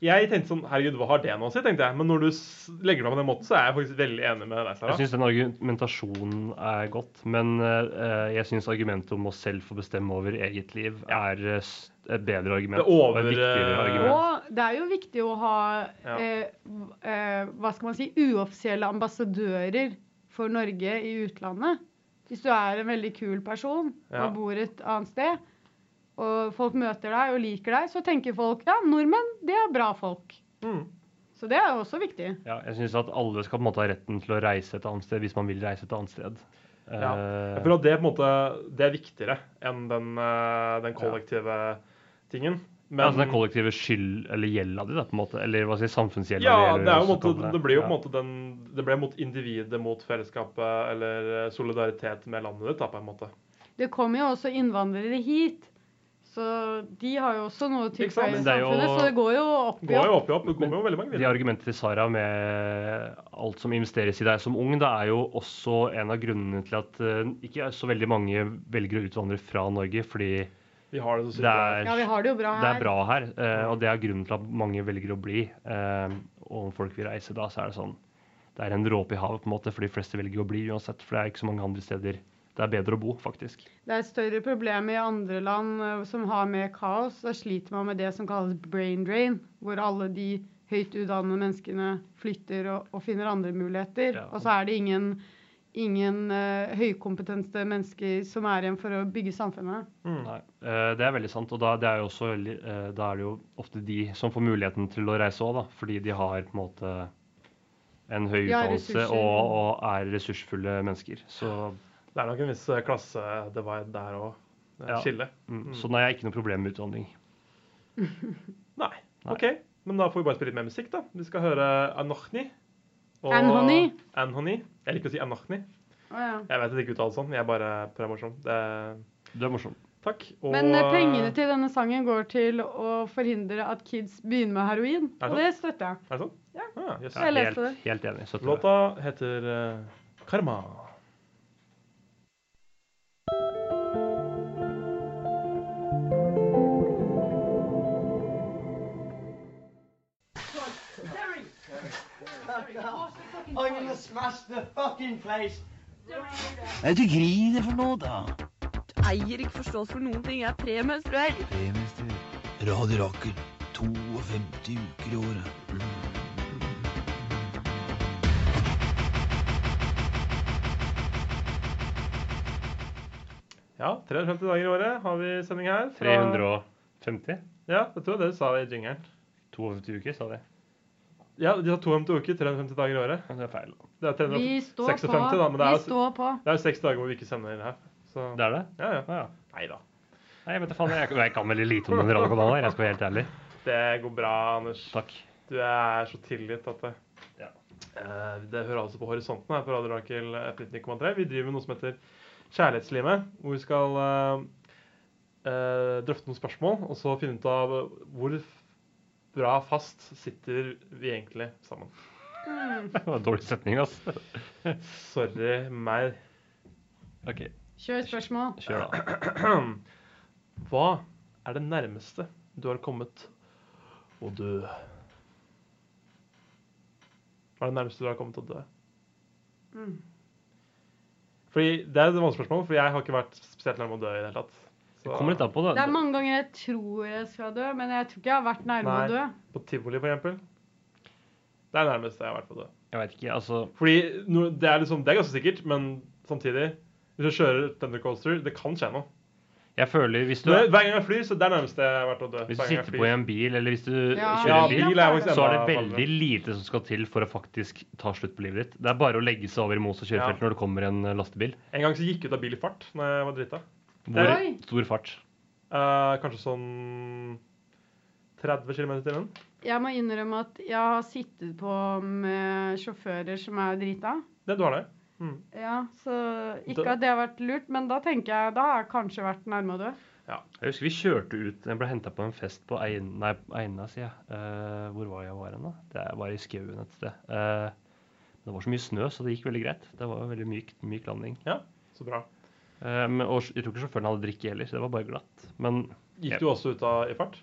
Speaker 3: jeg tenkte sånn Herregud, hva har det nå å si? tenkte jeg. Men når du s- legger det opp på den måten, så er jeg faktisk veldig enig med deg. Sara.
Speaker 5: Jeg syns den argumentasjonen er godt, men eh, jeg syns argumentet om å selv få bestemme over eget liv er eh, s- et bedre argument.
Speaker 3: Det over-
Speaker 5: og et viktigere argument.
Speaker 4: Og det er jo viktig å ha
Speaker 3: Ja.
Speaker 4: eh, v- eh, hva skal man si, uoffisielle ambassadører for Norge i utlandet. Hvis du er en veldig kul person
Speaker 3: Ja.
Speaker 4: og bor et annet sted, og folk møter deg og liker deg, så tenker folk ja, nordmenn det er bra folk.
Speaker 3: Mm.
Speaker 4: Så det er jo også viktig.
Speaker 5: Ja, jeg syns at alle skal på en måte ha retten til å reise et annet sted hvis man vil reise et annet sted.
Speaker 3: Ja.
Speaker 5: Eh,
Speaker 3: Jeg føler at det, på en måte, det er viktigere enn den, eh, den kollektive tingen. Men-
Speaker 5: altså den kollektive skyld, eller gjelda di, da, på en måte. Eller hva skal jeg si, samfunnsgjelda
Speaker 3: ja,
Speaker 5: di. eller
Speaker 3: det, er
Speaker 5: hva
Speaker 3: jo, på en
Speaker 5: skal
Speaker 3: måte,
Speaker 5: jeg
Speaker 3: det blir jo på en
Speaker 5: kalle
Speaker 3: måte den Det ble mot individet, mot fellesskapet, eller eh, solidaritet med landet ditt, da, på en måte.
Speaker 4: Det kommer jo også innvandrere hit. Så de har jo også noe å
Speaker 3: Ikke sant?
Speaker 4: tilføye
Speaker 5: Men det er jo-
Speaker 4: samfunnet, så det går jo opp i
Speaker 3: Går jo
Speaker 4: opp.
Speaker 3: opp i opp. Det kommer jo veldig mange
Speaker 5: Ja. De
Speaker 3: videre.
Speaker 5: argumentene til Sara med alt som investeres i deg som ung, det er jo også en av grunnene til at eh, ikke så veldig mange velger å utvandre fra Norge, fordi
Speaker 3: Vi har det
Speaker 5: det
Speaker 3: så sykt.
Speaker 5: er,
Speaker 4: Ja, vi har det jo bra
Speaker 5: det
Speaker 4: her.
Speaker 5: er bra her. eh, og det er grunnen til at mange velger å bli. Eh, og om folk vil reise da, så er det sånn Det er en dråpe i havet, på en måte, for de fleste velger å bli uansett. For det er ikke så mange andre steder det er bedre å bo, faktisk.
Speaker 4: Det er et større problem i andre land eh, som har mer kaos. Da sliter man med det som kalles brain drain, hvor alle de høyt utdannede menneskene flytter og, og finner andre muligheter.
Speaker 5: Ja.
Speaker 4: Og så er det ingen, ingen eh, høykompetente mennesker som er igjen for å bygge samfunnet.
Speaker 5: Nei, eh, det er veldig sant. Og da, det er jo også, veldig, eh, da er det jo ofte de som får muligheten til å reise òg, da. Fordi de har på en måte en høy
Speaker 4: De har
Speaker 5: utdannelse
Speaker 4: ressurser.
Speaker 5: og, og er ressursfulle mennesker. Så,
Speaker 3: Det er nok en viss eh, klassedivide der òg.
Speaker 5: Ja.
Speaker 3: Skille.
Speaker 5: mm. så nei, jeg har ikke noe problem med utvandring.
Speaker 3: Nei.
Speaker 5: Nei.
Speaker 3: OK. Men da får vi bare spille litt mer musikk, da. Vi skal høre Anochni.
Speaker 4: Anhony?
Speaker 3: Anhony. Jeg liker å si Anochni. Jeg vet at det ikke uttales sånn, jeg bare prøver å være morsom. Det...
Speaker 5: Du er morsom.
Speaker 3: Takk. Og
Speaker 4: Men eh, pengene til denne sangen går til å forhindre at kids begynner med heroin.
Speaker 3: Er det
Speaker 4: Og det støtter jeg.
Speaker 3: Er det sånn? Ja. Ah, jøss.
Speaker 4: Jeg leste
Speaker 5: helt,
Speaker 4: det.
Speaker 5: helt enig. støtter det.
Speaker 3: Låta heter eh, Karma.
Speaker 7: I'm gonna smash the fucking place.
Speaker 8: Hva er det du griner for noe, da?
Speaker 9: eier ikke forstås for noen ting. Jeg er premenstruell.
Speaker 8: Premiester. Radio Rakel. 52 uker i året.
Speaker 3: Ja, 350 dager i året har vi sending her. fra-
Speaker 5: 350?
Speaker 3: Ja, jeg tror det du sa i jingeren.
Speaker 5: 52 uker, sa de.
Speaker 3: Ja, de har 250 uker, 350 dager i året.
Speaker 5: Men Det er feil.
Speaker 3: Det er
Speaker 4: Vi står
Speaker 3: 356,
Speaker 4: på.
Speaker 3: da, men det er, altså-
Speaker 4: Vi står på.
Speaker 3: det er jo seks dager hvor vi ikke sender her. Så
Speaker 5: Det er det?
Speaker 3: ja, ja.
Speaker 5: Å ja.
Speaker 3: Nei da.
Speaker 5: Nei, jeg vet da faen. Jeg, jeg kan veldig lite om den radiokanalen her, jeg skal være helt ærlig.
Speaker 3: Det går bra, Anders.
Speaker 5: Takk. (laughs)
Speaker 3: Du er så tilgitt at det
Speaker 5: Ja.
Speaker 3: Eh, Det hører altså på horisonten her på Radio Rakel eh, F19,3. Vi driver med noe som heter Kjærlighetslimet, hvor vi skal eh, eh, drøfte noen spørsmål, og så finne ut av hvor f- bra fast sitter vi egentlig sammen.
Speaker 5: Det var en dårlig setning, altså.
Speaker 3: Sorry meg.
Speaker 5: OK,
Speaker 4: Kjør spørsmål.
Speaker 5: kjør da.
Speaker 3: Hva er det nærmeste du har kommet å dø? Hva er det nærmeste du har kommet å dø?
Speaker 4: Mm.
Speaker 3: Fordi Det er et vanskelig spørsmål, for jeg har ikke vært spesielt nærme å dø i det hele tatt. Så-
Speaker 5: Det kommer litt an på,
Speaker 4: Det
Speaker 5: da.
Speaker 4: er mange ganger jeg tror jeg skal dø, men jeg tror ikke jeg har vært nærme
Speaker 3: Nei.
Speaker 4: å dø.
Speaker 3: På tivoli, for eksempel. Det er det nærmeste jeg har vært på å dø.
Speaker 5: Jeg veit ikke, altså
Speaker 3: Fordi no, det er liksom, det er ganske sikkert, men samtidig Hvis jeg kjører Thundercoaster, det kan skje noe.
Speaker 5: Jeg føler hvis du,
Speaker 3: Men Hver gang jeg flyr, så det er nærmest det jeg har vært å dø.
Speaker 5: hvis du
Speaker 3: Hver gang jeg
Speaker 5: sitter på i
Speaker 3: flyr.
Speaker 5: en bil, eller hvis du
Speaker 4: Ja,
Speaker 5: kjører
Speaker 3: ja,
Speaker 5: en bil,
Speaker 3: bil er faktisk
Speaker 5: så er det
Speaker 3: enda
Speaker 5: veldig
Speaker 3: farligere.
Speaker 5: lite som skal til for å faktisk ta slutt på livet ditt. Det er bare å legge seg over i mos og kjørefelt når det kommer en eh, lastebil.
Speaker 3: En gang så gikk jeg ut av bil i fart når jeg var drita.
Speaker 5: Hvor
Speaker 4: Oi.
Speaker 5: stor fart.
Speaker 3: Eh, kanskje sånn 30 km i timen.
Speaker 4: Jeg må innrømme at jeg har sittet på med sjåfører som er drita.
Speaker 3: Det du har der.
Speaker 4: Ja, så ikke
Speaker 3: Da-
Speaker 4: at det har vært lurt, men da tenker jeg da har jeg kanskje vært nærme å dø.
Speaker 5: Jeg husker vi kjørte ut Jeg ble henta på en fest på Ein- nei, Eina, sier jeg. Eh, hvor var jeg var hen, da? Det var i skauen et sted. Eh, det var så mye snø, så det gikk veldig greit. Det var veldig myk, myk landing.
Speaker 3: Så bra.
Speaker 5: Eh, men, og jeg tror ikke sjåføren hadde drikke heller, så det var bare glatt. Men
Speaker 3: Gikk du også ut av i fart?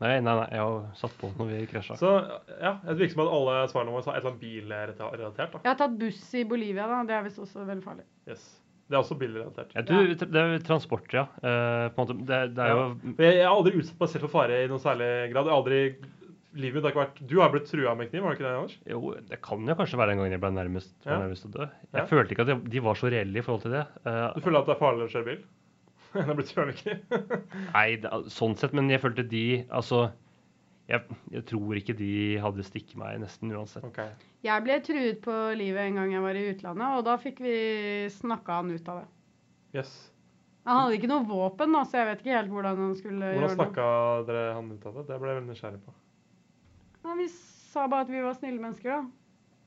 Speaker 5: nei, nei, nei jeg satt på når vi krasja.
Speaker 3: Så ja, Det virker som at alle svarene våre sa et eller annet bilrelatert. da.
Speaker 4: Jeg har tatt buss i Bolivia, da. Det er visst også veldig farlig.
Speaker 3: Yes. Det er også bilrelatert.
Speaker 5: Jeg tror Det er jo transport, ja. Eh, på en måte, det, det er jo
Speaker 3: Men Jeg jeg har aldri utsatt meg selv for fare i noen særlig grad. Jeg har aldri, livet mitt har ikke vært... Du har blitt trua med kniv, har du ikke det, Anders?
Speaker 5: Jo, det kan jo kanskje være den gangen jeg ble nærmest, var
Speaker 3: Ja.
Speaker 5: nærmest å dø.
Speaker 3: Ja.
Speaker 5: Jeg følte ikke at de- de var så reelle i forhold til det. Eh,
Speaker 3: Du føler at det er farligere å kjøre bil? (laughs) Enn å bli trua med kniv?
Speaker 5: Nei, det, al- sånn sett, men jeg følte de Altså, jeg, jeg tror ikke de hadde stikket meg nesten uansett.
Speaker 3: (laughs) Ok.
Speaker 4: Jeg ble truet på livet en gang jeg var i utlandet, og da fikk vi snakka han ut av det.
Speaker 3: Yes.
Speaker 4: Han hadde ikke noe våpen, da, så jeg vet ikke helt hvordan han skulle
Speaker 3: Hvordan
Speaker 4: gjøre det.
Speaker 3: snakka dere han ut av det? Det ble jeg veldig nysgjerrig på.
Speaker 4: Nei, vi sa bare at vi var snille mennesker, da.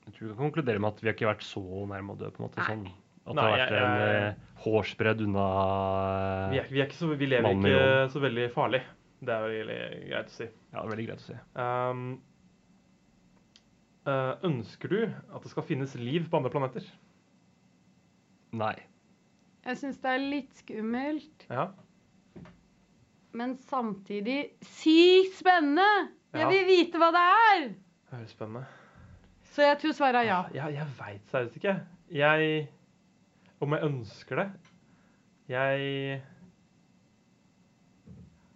Speaker 5: Jeg tror vi kan konkludere med at vi har ikke vært så nærme å dø, på en måte. Sånn. At
Speaker 3: Nei,
Speaker 5: det har vært
Speaker 3: jeg-
Speaker 5: en
Speaker 3: jeg-
Speaker 5: eh, hårsbredd unna
Speaker 3: Vi, er, vi, er ikke så, vi lever
Speaker 5: Mannen i
Speaker 3: ikke
Speaker 5: rollen.
Speaker 3: så veldig farlig. Det er veldig greit å si.
Speaker 5: Ja, det er veldig greit å si.
Speaker 3: Ehm, eh, ønsker du at det skal finnes liv på andre planeter?
Speaker 5: Nei.
Speaker 4: Jeg syns det er litt skummelt,
Speaker 3: Ja.
Speaker 4: men samtidig sykt spennende!
Speaker 3: Ja.
Speaker 4: Jeg vil vite hva det er!
Speaker 3: Det høres spennende. Ah,
Speaker 4: Så jeg tror svaret er ja.
Speaker 3: Jeg, jeg veit seriøst ikke. Jeg Om jeg ønsker det? Jeg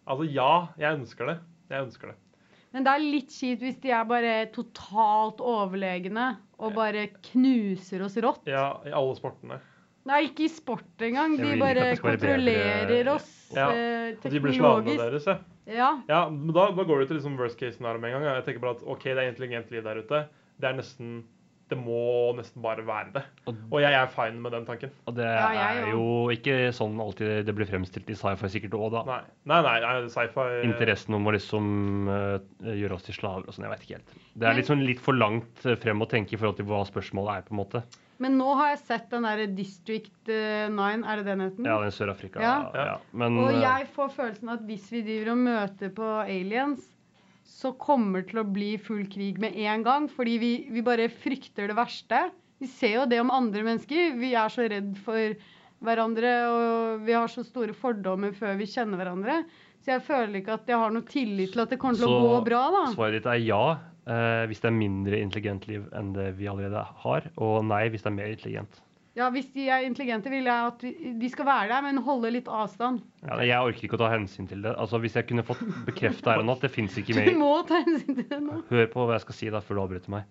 Speaker 3: Altså, ja, jeg ønsker det. Jeg ønsker det.
Speaker 4: Men det er litt kjipt hvis de er bare totalt overlegne og bare knuser oss rått.
Speaker 3: Ja, I alle sportene.
Speaker 4: Nei, ikke i sport engang.
Speaker 5: Jeg
Speaker 4: De
Speaker 5: vil ikke
Speaker 4: bare
Speaker 5: at det skal være
Speaker 4: kontrollerer
Speaker 5: bedre-
Speaker 4: oss
Speaker 3: Ja,
Speaker 4: eh,
Speaker 3: Og de blir slavene
Speaker 4: teknologisk.
Speaker 3: deres, ja.
Speaker 4: Ja.
Speaker 3: ja men da, da går det til liksom worst case scenario med en gang. ja. Jeg tenker bare at OK, det er intelligent liv der ute. Det er nesten Det må nesten bare være det.
Speaker 5: Og-
Speaker 3: Og jeg er fine med den tanken.
Speaker 5: Og det
Speaker 4: Ja, jeg
Speaker 5: er jo ikke sånn alltid det blir fremstilt i sci-fi sikkert òg, da.
Speaker 3: Nei, nei, nei, nei sci-fi eh,
Speaker 5: Interessen om å liksom eh, gjøre oss til slaver og sånn, jeg veit ikke helt. Det
Speaker 4: Men-
Speaker 5: er litt sånn litt for langt eh, frem å tenke i forhold til hva spørsmålet er, på en måte.
Speaker 4: Men nå har jeg sett den derre District eh, 9, er det den heter?
Speaker 5: Ja, den Sør-Afrika. Ja.
Speaker 4: Ja.
Speaker 5: Ja. Men
Speaker 4: Og
Speaker 5: eh,
Speaker 4: jeg får følelsen at hvis vi driver og møter på aliens, så kommer det til å bli full krig med en gang. Fordi vi, vi bare frykter det verste. Vi ser jo det om andre mennesker. Vi er så redd for hverandre, og vi har så store fordommer før vi kjenner hverandre. Så jeg føler ikke at jeg har noe tillit til at det kommer til å gå
Speaker 5: Så-
Speaker 4: bra, da.
Speaker 5: Svaret ditt er ja eh, hvis det er mindre intelligent liv enn det vi allerede har, og nei hvis det er mer intelligent.
Speaker 4: Ja, Hvis de er intelligente, vil jeg at vi- de skal være der, men holde litt avstand. (laughs)
Speaker 5: Ja, nei, jeg orker ikke å ta hensyn til det. Altså, Hvis jeg kunne fått bekrefta her og nå at det fins ikke
Speaker 4: (laughs) Du
Speaker 5: mer
Speaker 4: må ta hensyn til det nå.
Speaker 5: Hør på hva jeg skal si da, før du avbryter meg.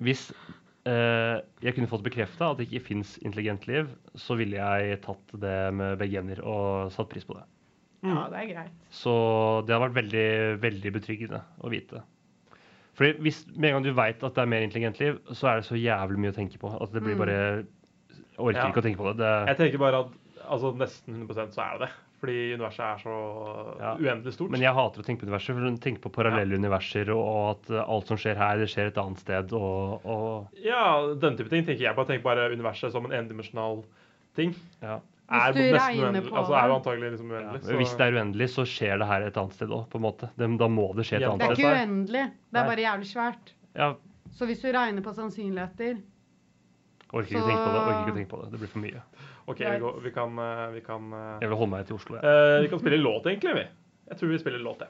Speaker 5: Hvis eh, jeg kunne fått bekrefta at det ikke fins intelligent liv, så ville jeg tatt det med begge hender og satt pris på det.
Speaker 4: Ja, det er greit.
Speaker 5: Så det har vært veldig, veldig betryggende å vite. Fordi hvis med en gang du veit at det er mer intelligent liv, så er det så jævlig mye å tenke på. At det blir bare jeg Orker
Speaker 3: Mm. Ja.
Speaker 5: ikke å tenke på det. det
Speaker 3: Jeg tenker bare at altså, nesten 100 så er det det. Fordi universet er så
Speaker 5: Ja.
Speaker 3: uendelig stort.
Speaker 5: men jeg hater å tenke på universet. For å tenke på parallelle universer og at alt som skjer her, det skjer et annet sted. Og, og
Speaker 3: Ja, den type ting tenker jeg på. Jeg tenker bare universet som en endimensjonal ting.
Speaker 5: ja.
Speaker 4: Hvis du
Speaker 3: nesten
Speaker 4: regner
Speaker 3: uendelig.
Speaker 4: på
Speaker 3: Altså, er jo
Speaker 4: det.
Speaker 3: antagelig liksom uendelig. så-
Speaker 5: Hvis det er uendelig, så skjer det her et annet sted òg, på en måte. Det, da må det skje et
Speaker 3: Ja.
Speaker 4: Det er
Speaker 5: annet
Speaker 4: ikke
Speaker 5: sted.
Speaker 4: uendelig. Det
Speaker 5: Nei.
Speaker 4: er bare jævlig svært.
Speaker 5: Ja,
Speaker 4: Så hvis du regner på sannsynligheter
Speaker 5: orker ikke å tenke på det. Orker ikke å tenke på det. Det blir for mye.
Speaker 3: OK, vi, går, vi kan, eh, vi kan eh,
Speaker 5: Jeg vil holde meg til Oslo. jeg.
Speaker 3: eh, Vi kan spille låt, egentlig, vi. Jeg tror vi spiller låt, jeg.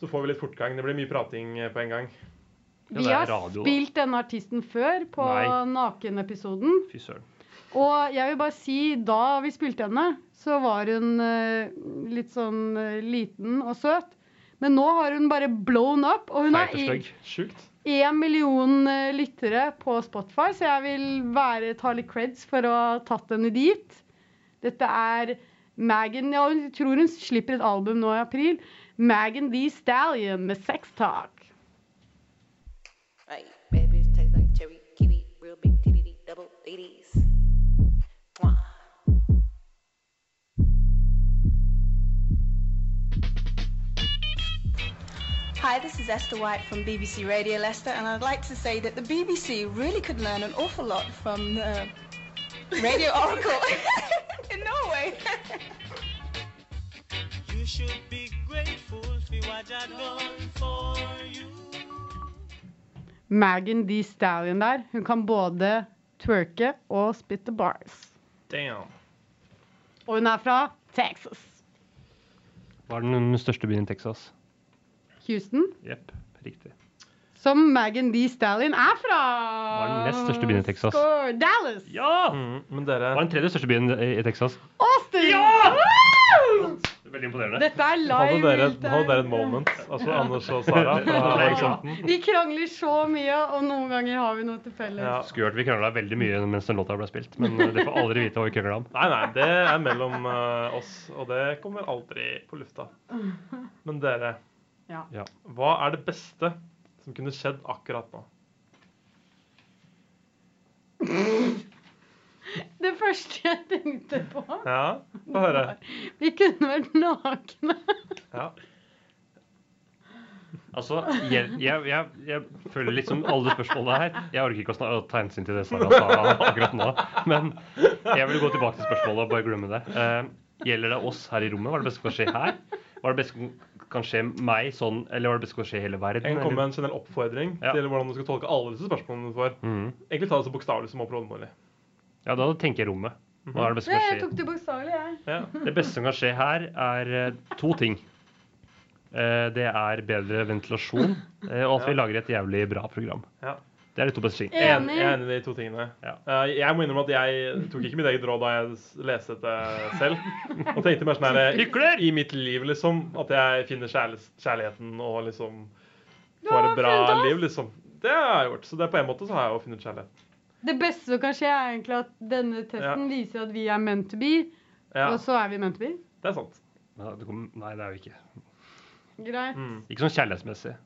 Speaker 3: Så får vi litt fortgang. Det blir mye prating eh, på en gang.
Speaker 5: Ja,
Speaker 4: Vi
Speaker 5: det er
Speaker 4: har
Speaker 5: radio, da.
Speaker 4: spilt denne artisten før på
Speaker 5: Nei.
Speaker 4: Naken-episoden.
Speaker 5: Fy søren.
Speaker 4: Og jeg vil bare si, da vi spilte henne, så var hun eh, litt sånn eh, liten og søt. Men nå har hun bare blown up, og hun
Speaker 5: Feit
Speaker 4: er
Speaker 5: og
Speaker 4: i-
Speaker 5: stygg.
Speaker 3: Sjukt.
Speaker 4: én million eh, lyttere på Spotify, så jeg vil være, ta litt creds for å ha tatt henne dit. Dette er Megan ja, Hun tror hun slipper et album nå i april. Megan D. Stallion med Sex Talk.
Speaker 10: Right, bad bitch taste like cherry kiwi, real big titty, double ladies. Mwah.
Speaker 11: Hi, this is Esther White from BBC Radio Leicester, and I'd like to say that the BBC really could learn an awful lot from the Radio Oracle (laughs) in Norway.
Speaker 12: You should be grateful for what I done for you.
Speaker 4: Megan D. Stallion der. Hun kan både twerke og spytte bars.
Speaker 3: Damn.
Speaker 4: Og hun er fra Texas.
Speaker 5: Var den den største byen i Texas?
Speaker 4: Houston.
Speaker 5: Jepp, riktig.
Speaker 4: Som Megan D. Stallion er fra.
Speaker 5: Var den nest største byen i Texas?
Speaker 4: Score, Dallas.
Speaker 5: Ja!
Speaker 3: Mm, men dere
Speaker 5: Var den tredje største byen i i Texas?
Speaker 4: Austin. Woo!
Speaker 5: Veldig imponerende.
Speaker 4: Dette er live.
Speaker 3: hadde dere,
Speaker 4: real time.
Speaker 3: hadde dere et moment, altså Anders (laughs) og Sara.
Speaker 5: Det er
Speaker 3: sånn.
Speaker 5: eksamten.
Speaker 4: Vi krangler så mye, og noen ganger har vi noe til felles.
Speaker 3: Ja.
Speaker 5: Skulle hørt vi krangla veldig mye mens den låta ble spilt, men det får aldri vite hva vi krangla om.
Speaker 3: Nei, nei, det er mellom eh, oss, og det kommer aldri på lufta. Men dere,
Speaker 4: Ja.
Speaker 5: Ja.
Speaker 3: hva er det beste som kunne skjedd akkurat nå?
Speaker 4: Det første jeg tenkte på
Speaker 3: Ja, få høre.
Speaker 4: Vi kunne vært nakne.
Speaker 3: Ja.
Speaker 5: Altså, jeg, jeg, jeg, jeg føler liksom alle spørsmålene her Jeg orker ikke å snak- å ta hensyn til det Sara sa akkurat nå, men jeg vil gå tilbake til spørsmålet og bare glemme det. Eh, gjelder det oss her i rommet? Hva er det beste som kan skje her? Hva er det beste som kan skje meg sånn, eller hva er det beste som kan skje i hele verden?
Speaker 3: Jeg kan komme
Speaker 5: eller?
Speaker 3: med en generell oppfordring
Speaker 5: Ja.
Speaker 3: til hvordan du skal tolke alle disse spørsmålene du får.
Speaker 5: Mhm.
Speaker 3: Egentlig ta det så bokstavelig som overhodet mulig.
Speaker 5: Ja, da tenker jeg rommet. Hva er det beste som
Speaker 4: Jeg
Speaker 5: kan
Speaker 4: tok
Speaker 5: skje?
Speaker 4: det bokstavelig, jeg.
Speaker 3: Ja.
Speaker 5: Det beste som kan skje her, er eh, to ting. Eh, det er bedre ventilasjon, eh, og at vi
Speaker 3: Ja.
Speaker 5: lager et jævlig bra program.
Speaker 3: Ja.
Speaker 5: Det er de to beste tingene.
Speaker 3: Jeg er
Speaker 4: Enig.
Speaker 3: enig- jeg er enig i de to tingene.
Speaker 5: Ja.
Speaker 3: Eh, Jeg må innrømme at jeg tok ikke mitt eget råd da jeg s- leste dette selv. Og tenkte mer sånn her
Speaker 5: Hykler!
Speaker 3: I mitt liv, liksom. At jeg finner kjærl- kjærligheten og liksom
Speaker 4: Du
Speaker 3: får
Speaker 4: har
Speaker 3: et bra
Speaker 4: funnet oss.
Speaker 3: liv, liksom. Det har jeg gjort. Så det, på en måte så har jeg jo funnet kjærlighet.
Speaker 4: Det beste som kan skje, er egentlig at denne testen viser at vi er meant to be,
Speaker 3: Ja,
Speaker 4: og så er vi meant to be.
Speaker 3: det er sant.
Speaker 5: Ja, det kom- Nei, det er jo ikke.
Speaker 4: Greit.
Speaker 3: Mm.
Speaker 5: Ikke sånn kjærlighetsmessig.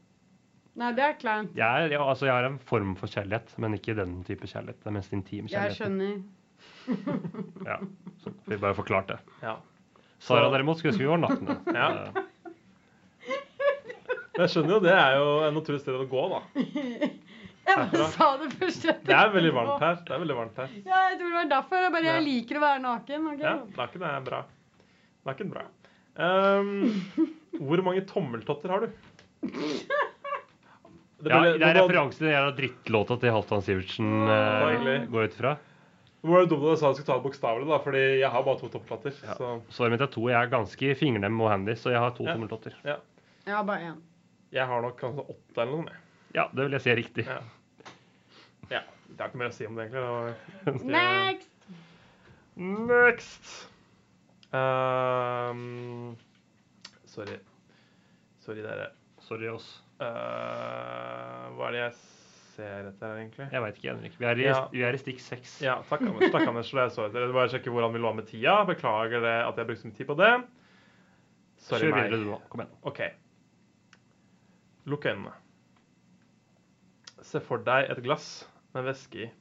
Speaker 4: Nei, det er kleint.
Speaker 5: Jeg, er, ja, altså, jeg har en form for kjærlighet, men ikke den type kjærlighet. Den mest intime
Speaker 4: Jeg
Speaker 5: kjærligheten.
Speaker 4: skjønner.
Speaker 5: Ja, så vi bare forklarte det.
Speaker 3: Ja.
Speaker 5: Sara
Speaker 3: Så-
Speaker 5: derimot skulle ønske vi var nakne.
Speaker 3: (laughs) Ja.
Speaker 5: Eh,
Speaker 3: Men jeg skjønner jo, det er jo en naturlig sted å gå, da.
Speaker 4: Jeg bare
Speaker 3: Herfra.
Speaker 4: sa det først. jeg
Speaker 3: Det er
Speaker 4: tenkte
Speaker 3: veldig
Speaker 4: på.
Speaker 3: varmt her. Det er veldig varmt her.
Speaker 4: Ja, jeg tror det var derfor. Jeg bare jeg
Speaker 3: Ja.
Speaker 4: liker å være naken. ok?
Speaker 3: Ja, naken er bra. Naken bra.
Speaker 5: (laughs)
Speaker 3: Ehm, hvor mange tommeltotter har du? Det
Speaker 5: ja,
Speaker 3: ble-
Speaker 5: det er
Speaker 3: var-
Speaker 5: referanse til den jævla drittlåta til Halvdan Sivertsen
Speaker 3: Så
Speaker 5: eh,
Speaker 3: hyggelig.
Speaker 5: går ut fra.
Speaker 3: Det var jo dumt at jeg sa jeg skulle ta det bokstavelig, da, fordi jeg har bare to tommeltotter.
Speaker 5: Ja.
Speaker 3: Så
Speaker 5: Svaret mitt er to. Jeg er ganske fingernem og handy, så jeg har to
Speaker 3: Ja.
Speaker 5: tommeltotter.
Speaker 4: Jeg har bare én.
Speaker 3: jeg har nok kanskje åtte eller noe. jeg.
Speaker 5: Ja, det vil jeg si er riktig.
Speaker 3: Ja. Ja, det er ikke mer å si om det, egentlig. Det var-
Speaker 4: Next!
Speaker 3: Next! Ehm, sorry. Sorry, dere.
Speaker 5: Sorry, oss.
Speaker 3: Ehm, hva er det jeg ser etter her, egentlig?
Speaker 5: Jeg veit ikke, Henrik. Vi er i,
Speaker 3: Ja.
Speaker 5: vi er i stikk seks.
Speaker 3: Ja, takk Anders, takk Anders for det jeg så etter. Jeg vil Bare sjekke hvordan vi lå med tida. Beklager det at jeg brukte så mye tid på det. Sorry,
Speaker 5: Kjør videre,
Speaker 3: meg.
Speaker 5: du nå. Kom igjen.
Speaker 3: OK. Lukk øynene. Se for deg et glass med væske i.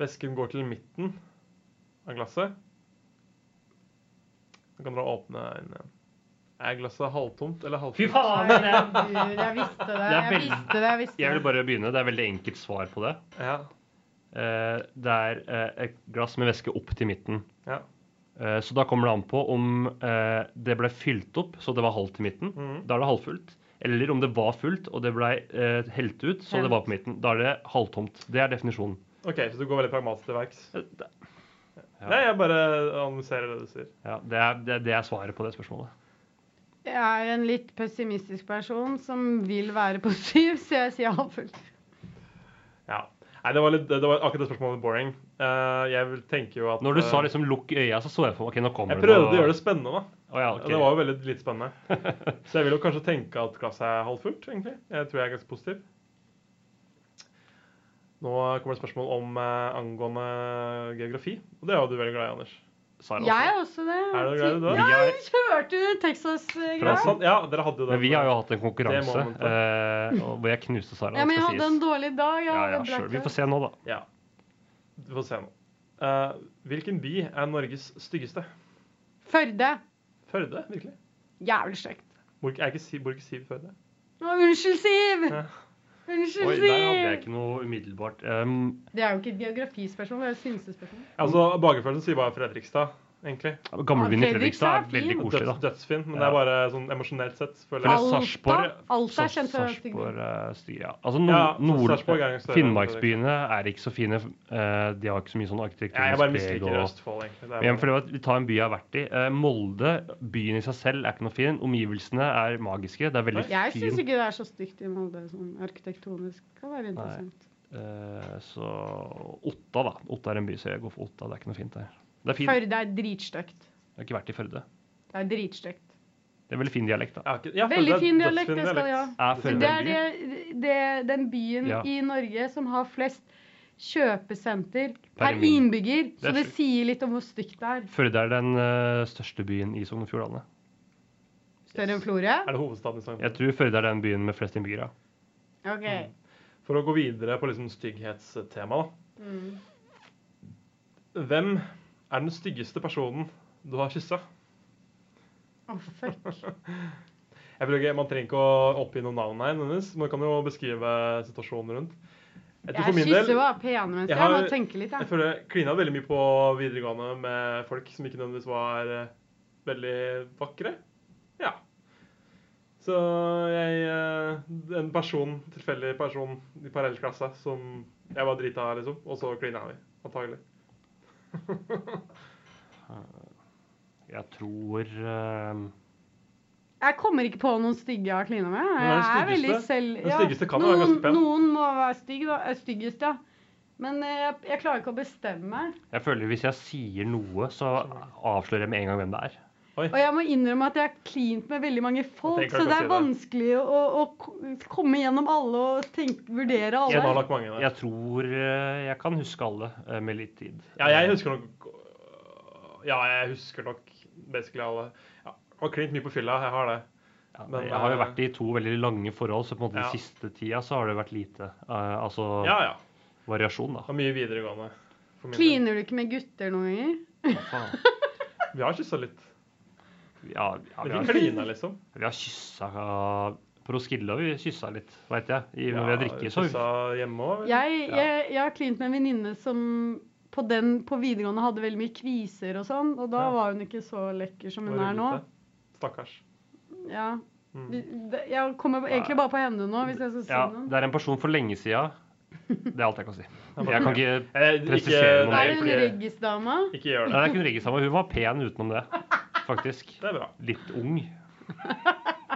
Speaker 3: Væsken går til midten av glasset. Så kan dere åpne øynene. igjen. Er glasset halvtomt eller halvtomt?
Speaker 5: Fy faen! eh,
Speaker 4: Herregud, jeg visste det.
Speaker 5: Det er
Speaker 4: Jeg
Speaker 5: veldig-
Speaker 4: visste det. jeg visste
Speaker 5: (laughs) Jeg vil
Speaker 4: det.
Speaker 5: bare begynne. Det er veldig enkelt svar på det.
Speaker 3: Ja.
Speaker 5: Eh, det er eh, et glass med væske opp til midten.
Speaker 3: Ja.
Speaker 5: Eh, så da kommer det an på om eh, det ble fylt opp, så det var halvt til midten.
Speaker 3: Mhm.
Speaker 5: Da er det halvfullt. Eller om det var fullt, og det ble eh, helt ut, så det var på midten. Da er det halvtomt. Det er definisjonen.
Speaker 3: OK, så du går veldig pragmatisk til verks.
Speaker 5: Eh, det-
Speaker 3: Nei, jeg bare analyserer det du sier.
Speaker 5: Ja, det, er, det, det er svaret på det spørsmålet.
Speaker 4: Jeg er en litt pessimistisk person som vil være på syv, så jeg sier halvfullt.
Speaker 3: Ja. Nei, det var, litt, det var akkurat det spørsmålet var boring. Eh, jeg vil tenke jo at
Speaker 5: Når du sa
Speaker 3: eh,
Speaker 5: liksom 'lukk øya', så så jeg for meg ok, nå kommer
Speaker 3: Jeg
Speaker 5: det
Speaker 3: prøvde å gjøre det spennende, da.
Speaker 5: Å ja, ok.
Speaker 3: Det var jo veldig litt
Speaker 5: (laughs)
Speaker 3: spennende. Så jeg vil jo kanskje tenke at glasset er halvfullt, egentlig. Jeg tror jeg er ganske positiv. Nå kommer det spørsmål om eh, angående geografi. Og det er jo du veldig glad i, Anders.
Speaker 4: Jeg
Speaker 5: altså.
Speaker 4: er også det.
Speaker 3: Er du glad i det, da?
Speaker 4: Ja, kjørte du Texas-greia?
Speaker 3: Fra Sand- Ja, dere hadde jo det.
Speaker 5: Men vi har jo hatt en
Speaker 3: Det
Speaker 5: konkurranse
Speaker 3: momentet.
Speaker 5: eh, og hvor jeg knuste Sara.
Speaker 4: Ja, men jeg
Speaker 5: skal
Speaker 4: hadde
Speaker 5: sies.
Speaker 4: en dårlig dag. Ja,
Speaker 5: ja, ja,
Speaker 4: det ble
Speaker 5: sure. Vi
Speaker 4: ikke-
Speaker 5: får se nå, da.
Speaker 3: Ja. Du får se nå. Eh, hvilken by er Norges styggeste?
Speaker 4: Førde.
Speaker 3: Førde, virkelig?
Speaker 4: Jævlig stygt.
Speaker 3: Bor ikke, er ikke Siv, bor ikke Siv i Førde?
Speaker 4: Å, Unnskyld, Siv!
Speaker 3: Ja.
Speaker 4: Unnskyld,
Speaker 5: Oi, der hadde jeg
Speaker 4: Siv!
Speaker 5: ikke noe umiddelbart. Um,
Speaker 4: Det er jo ikke et geografispørsmål, det er et synsespørsmål.
Speaker 3: Altså, Bagerfølgen sier bare Fredrikstad, egentlig.
Speaker 5: Gamlebyen i
Speaker 4: Ja,
Speaker 5: Fredrikstad er
Speaker 4: Fredrikstad er
Speaker 5: veldig
Speaker 4: fin.
Speaker 5: koselig, da.
Speaker 3: Døds, dødsfin, men det er bare sånn emosjonelt sett. føler jeg.
Speaker 5: Eller Sarpsborg.
Speaker 4: Alta er kjent for å være stygg by.
Speaker 5: Sarpsborg eh, styr, ja. Altså, nord,
Speaker 3: Ja, så Sarpsborg er jo
Speaker 5: nord
Speaker 3: større enn
Speaker 5: Finnmarksbyene er ikke så fine. eh, de har ikke så mye sånn arkitektur.
Speaker 3: Nei, jeg bare
Speaker 5: preg
Speaker 3: misliker
Speaker 5: og-
Speaker 3: Østfold, egentlig. Det er
Speaker 5: Men
Speaker 3: bare-
Speaker 5: for det var- Vi tar en by jeg har vært i. Eh, Molde, byen i seg selv, er ikke noe fin. Omgivelsene er magiske. Det er veldig
Speaker 4: Jeg
Speaker 5: fin.
Speaker 4: syns ikke det er så stygt i Molde sånn arkitektonisk. Det kan være interessant.
Speaker 5: Eh, så Otta, da. Otta er en by, så jeg går for Otta. Det er ikke noe fint der. Det er fint. Jeg
Speaker 4: Førde er dritstygt.
Speaker 5: har ikke vært i Førde.
Speaker 4: Det er dritstygt.
Speaker 5: Det er veldig fin dialekt, da.
Speaker 3: Jeg har ikke- ja, Førde
Speaker 4: Veldig
Speaker 3: er
Speaker 4: fin dialekt,
Speaker 3: dødsfin
Speaker 4: det skal vi ha.
Speaker 5: Er Førde en
Speaker 4: Det er
Speaker 5: by?
Speaker 4: det, det, den byen
Speaker 5: Ja.
Speaker 4: i Norge som har flest kjøpesenter
Speaker 5: Per
Speaker 4: per
Speaker 5: min-
Speaker 4: innbygger.
Speaker 5: Det er
Speaker 4: Så det
Speaker 5: sjukt.
Speaker 4: sier litt om hvor stygt det er.
Speaker 5: Førde er den eh, største byen i Sogn og Fjordane.
Speaker 4: Større enn Florø?
Speaker 3: Er det hovedstaden i Sogn?
Speaker 5: Jeg tror Førde er den byen med flest innbyggere.
Speaker 4: OK.
Speaker 3: For å gå videre på liksom stygghetstema,
Speaker 4: Mm.
Speaker 3: da. Hvem er den styggeste personen du har kyssa?
Speaker 4: Å, fuck.
Speaker 3: (laughs) Jeg bruker, Man trenger ikke å oppgi noe navn her, nødvendigvis. Man kan jo beskrive situasjonen rundt. Jeg tror for
Speaker 4: Jeg
Speaker 3: min del-
Speaker 4: kysser jo av pene mennesker.
Speaker 3: Jeg
Speaker 4: Jeg,
Speaker 3: har-
Speaker 4: må tenke litt,
Speaker 3: Jeg
Speaker 4: jeg.
Speaker 3: føler jeg klina veldig mye på videregående med folk som ikke nødvendigvis var eh, veldig vakre. Ja. Så jeg eh, En person, tilfeldig person i parallellklassa som jeg var drita av, liksom. Og så klina vi, antagelig.
Speaker 5: Jeg tror eh,
Speaker 4: Jeg kommer ikke på noen stygge jeg har klina med.
Speaker 3: Men
Speaker 4: Jeg er
Speaker 3: den
Speaker 4: veldig
Speaker 3: styggeste-
Speaker 4: selv...
Speaker 3: den
Speaker 4: ja,
Speaker 3: styggeste kan jo være
Speaker 4: noen,
Speaker 3: ganske pen.
Speaker 4: noen må være stygg, da. Eh, Styggest, ja. Men eh, jeg, jeg klarer ikke å bestemme meg.
Speaker 5: Jeg føler hvis jeg sier noe, så avslører jeg med en gang hvem det er.
Speaker 4: Og jeg må innrømme at jeg har klint med veldig mange folk,
Speaker 5: Jeg tenker
Speaker 4: så
Speaker 5: ikke
Speaker 4: det
Speaker 5: å
Speaker 4: er vanskelig å, å k- komme gjennom alle og tenke, vurdere
Speaker 5: Jeg,
Speaker 4: alle.
Speaker 5: jeg tror eh, jeg kan huske alle eh, med litt tid.
Speaker 3: Ja, jeg husker nok øh, Ja, jeg husker nok basically alle. Ja, har klint mye på fylla, jeg har det. Men,
Speaker 5: jeg har jo
Speaker 3: eh,
Speaker 5: vært i to veldig lange forhold, så på en måte
Speaker 3: Ja.
Speaker 5: den siste tida så har det vært lite eh, altså
Speaker 3: Ja, ja.
Speaker 5: variasjon, da.
Speaker 3: Og mye videregående. for min del.
Speaker 4: Kliner du ikke med gutter noen ganger?
Speaker 5: Hva faen?
Speaker 3: Vi har kyssa litt.
Speaker 5: Ja, ja,
Speaker 3: Men
Speaker 5: vi
Speaker 3: ikke
Speaker 5: har,
Speaker 3: klina, liksom.
Speaker 5: vi har kyssa På Roskilde har vi kyssa litt, veit jeg. I,
Speaker 3: Ja,
Speaker 5: når vi har drikket, så
Speaker 3: kyssa hjemme òg.
Speaker 4: Jeg, jeg, jeg har klint med en venninne som på, den, på videregående hadde veldig mye kviser og sånn, og da var hun ikke så lekker som hun er nå.
Speaker 3: Stakkars.
Speaker 4: Ja.
Speaker 3: Mm.
Speaker 4: Vi, det, jeg kommer egentlig bare på henne nå, hvis jeg skal si
Speaker 5: ja,
Speaker 4: noe.
Speaker 5: Det er en person for lenge sia. Det er alt jeg kan si.
Speaker 3: bare-
Speaker 5: Jeg kan ikke
Speaker 3: Eh, ikke-
Speaker 5: presisere noe
Speaker 4: Er
Speaker 5: mer.
Speaker 4: det hun
Speaker 5: fordi-
Speaker 4: Reggis-dama?
Speaker 3: Ikke
Speaker 5: Nei,
Speaker 3: gjør
Speaker 5: det
Speaker 3: det.
Speaker 5: er ikke noe regel sammen. Hun var pen utenom det, faktisk.
Speaker 3: Det er bra.
Speaker 5: Litt ung.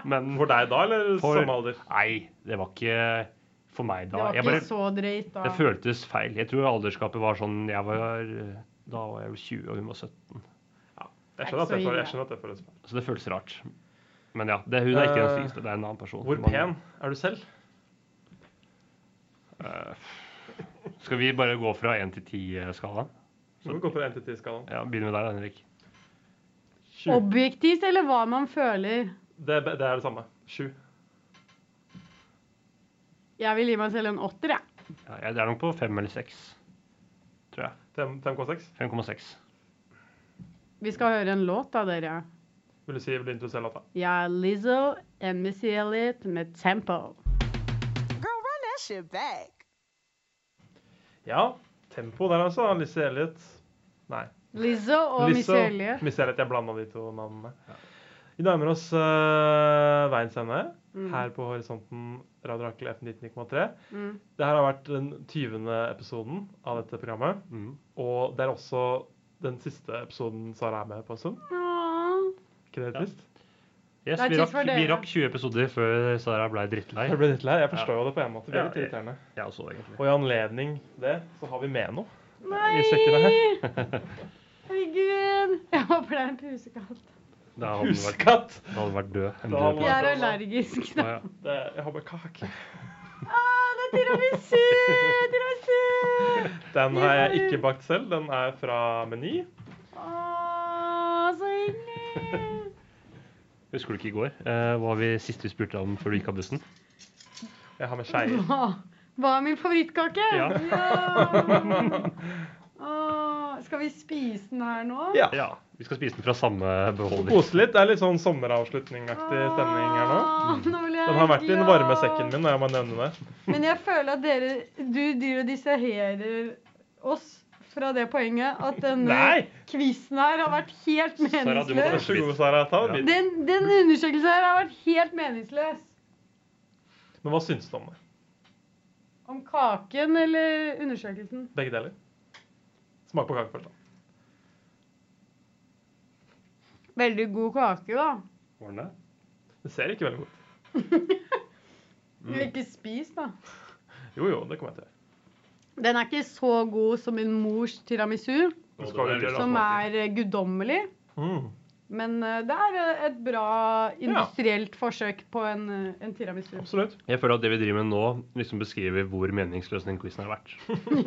Speaker 5: Men
Speaker 3: For deg da, eller
Speaker 5: For-
Speaker 3: samme alder?
Speaker 5: Nei, det var ikke for meg
Speaker 4: Det
Speaker 5: da.
Speaker 4: var
Speaker 5: Jeg
Speaker 4: ikke
Speaker 5: bare,
Speaker 4: så drøyt, da.
Speaker 5: det føltes feil. Jeg tror alderskapet var sånn jeg var, Da var jeg vel 20, og hun var 17.
Speaker 3: Jeg skjønner at det,
Speaker 4: Ikke så
Speaker 3: føles-
Speaker 4: ille.
Speaker 3: jeg skjønner at det føles feil.
Speaker 5: Så det føltes rart. Men ja, det, hun er ikke den
Speaker 3: Eh,
Speaker 5: styggeste. Det er en annen person.
Speaker 3: Hvor
Speaker 5: Man-
Speaker 3: pen er du selv?
Speaker 5: eh, skal vi bare gå fra 1 til 10-skalaen?
Speaker 3: Så vi går på 1 til 10-skalaen.
Speaker 5: Ja, Begynner med deg, Henrik.
Speaker 4: Objektivt, eller hva man føler?
Speaker 3: Det, er- det er det samme. 7.
Speaker 4: Jeg vil gi meg selv en åtter, jeg.
Speaker 5: Ja, jeg er nok på 5 eller 6, tror jeg.
Speaker 3: 5,6.
Speaker 5: 5,6.
Speaker 4: Vi skal høre en låt da, dere.
Speaker 3: Vil du si vil du introdusere låta?
Speaker 4: Jeg er Lizzo and Missy Elliot med Tempo.
Speaker 6: Girl, run that shit back.
Speaker 3: Ja. Tempo der, altså. Lizzie Elliot. Nei.
Speaker 4: Lizzo og Missy Elliot.
Speaker 3: Miss Elliot. Jeg blanda de to navnene. Vi nærmer oss øh, veiens ende
Speaker 4: Mm.
Speaker 3: her på Horisonten Radio Rakel F19,3.
Speaker 4: Mm.
Speaker 3: Det her har vært den 20. episoden av dette programmet.
Speaker 5: Mm.
Speaker 3: Og det er også den siste episoden Sara er med på en stund.
Speaker 4: Åh.
Speaker 3: Ikke det
Speaker 5: Ja.
Speaker 3: trist?
Speaker 5: Yes,
Speaker 4: Det er
Speaker 5: vi
Speaker 4: tid
Speaker 5: rakk,
Speaker 4: for dere.
Speaker 5: vi rakk 20 episoder før Sara ble drittlei.
Speaker 3: Jeg ble litt lei. Jeg forstår jo det på en måte. Det
Speaker 5: Ja,
Speaker 3: er litt
Speaker 5: jeg-
Speaker 3: irriterende.
Speaker 5: Jeg også, egentlig.
Speaker 3: Og i anledning det, så har vi med noe.
Speaker 4: Nei!
Speaker 3: I sekken her.
Speaker 4: (laughs) Herregud. Jeg håper det er en pusekatt.
Speaker 5: Da hadde den vært-
Speaker 3: Huskatt.
Speaker 5: Da hadde den vært død.
Speaker 3: Da hadde den
Speaker 4: Jeg
Speaker 3: vært død.
Speaker 4: er allergisk.
Speaker 5: Ja, ja.
Speaker 3: Det, jeg har bare kake.
Speaker 4: Ah, det er tiramisu! Tiramisu!
Speaker 3: Den har jeg ikke bakt selv. Den er fra Meny.
Speaker 4: Ah, så hyggelig!
Speaker 5: Husker du ikke i går? Eh, hva vi sist vi spurte om før du gikk av bussen?
Speaker 3: Jeg har med skeier.
Speaker 4: Hva, hva er min favorittkake?
Speaker 5: Ja.
Speaker 4: Ah, skal vi spise den her nå?
Speaker 3: Ja.
Speaker 5: Vi skal spise den fra samme beholder.
Speaker 3: Kose litt. Det er litt sånn sommeravslutningaktig stemning her nå.
Speaker 4: Ah, nå ble jeg
Speaker 3: Den har vært i den
Speaker 4: glad.
Speaker 3: varme sekken min, og jeg må nevne det.
Speaker 4: Men jeg føler at dere Du driver og distraherer oss fra det poenget at denne
Speaker 3: Nei.
Speaker 4: quizen her har vært helt
Speaker 3: Sara, du må ta en
Speaker 4: meningsløs.
Speaker 3: så god, Sara. Ta en bit.
Speaker 4: Den, den undersøkelsen her har vært helt meningsløs.
Speaker 3: Men hva syns du om det?
Speaker 4: Om kaken eller undersøkelsen?
Speaker 3: Begge deler. Smak på kake først, da.
Speaker 4: Veldig god kake, da.
Speaker 5: Var den det?
Speaker 3: Det ser ikke veldig godt ut.
Speaker 4: (laughs) Men Ikke spis, da.
Speaker 3: Jo, jo, det kommer jeg til.
Speaker 4: Den er ikke så god som min mors tiramisu,
Speaker 3: Nå skal vi til å-
Speaker 4: som er eh, guddommelig.
Speaker 3: Mm.
Speaker 4: Men eh, det er eh, et bra industrielt forsøk på en, eh, en tiramisu.
Speaker 3: (laughs) Absolutt.
Speaker 5: Jeg føler at det vi driver med nå, liksom beskriver hvor meningsløs den quizen har vært.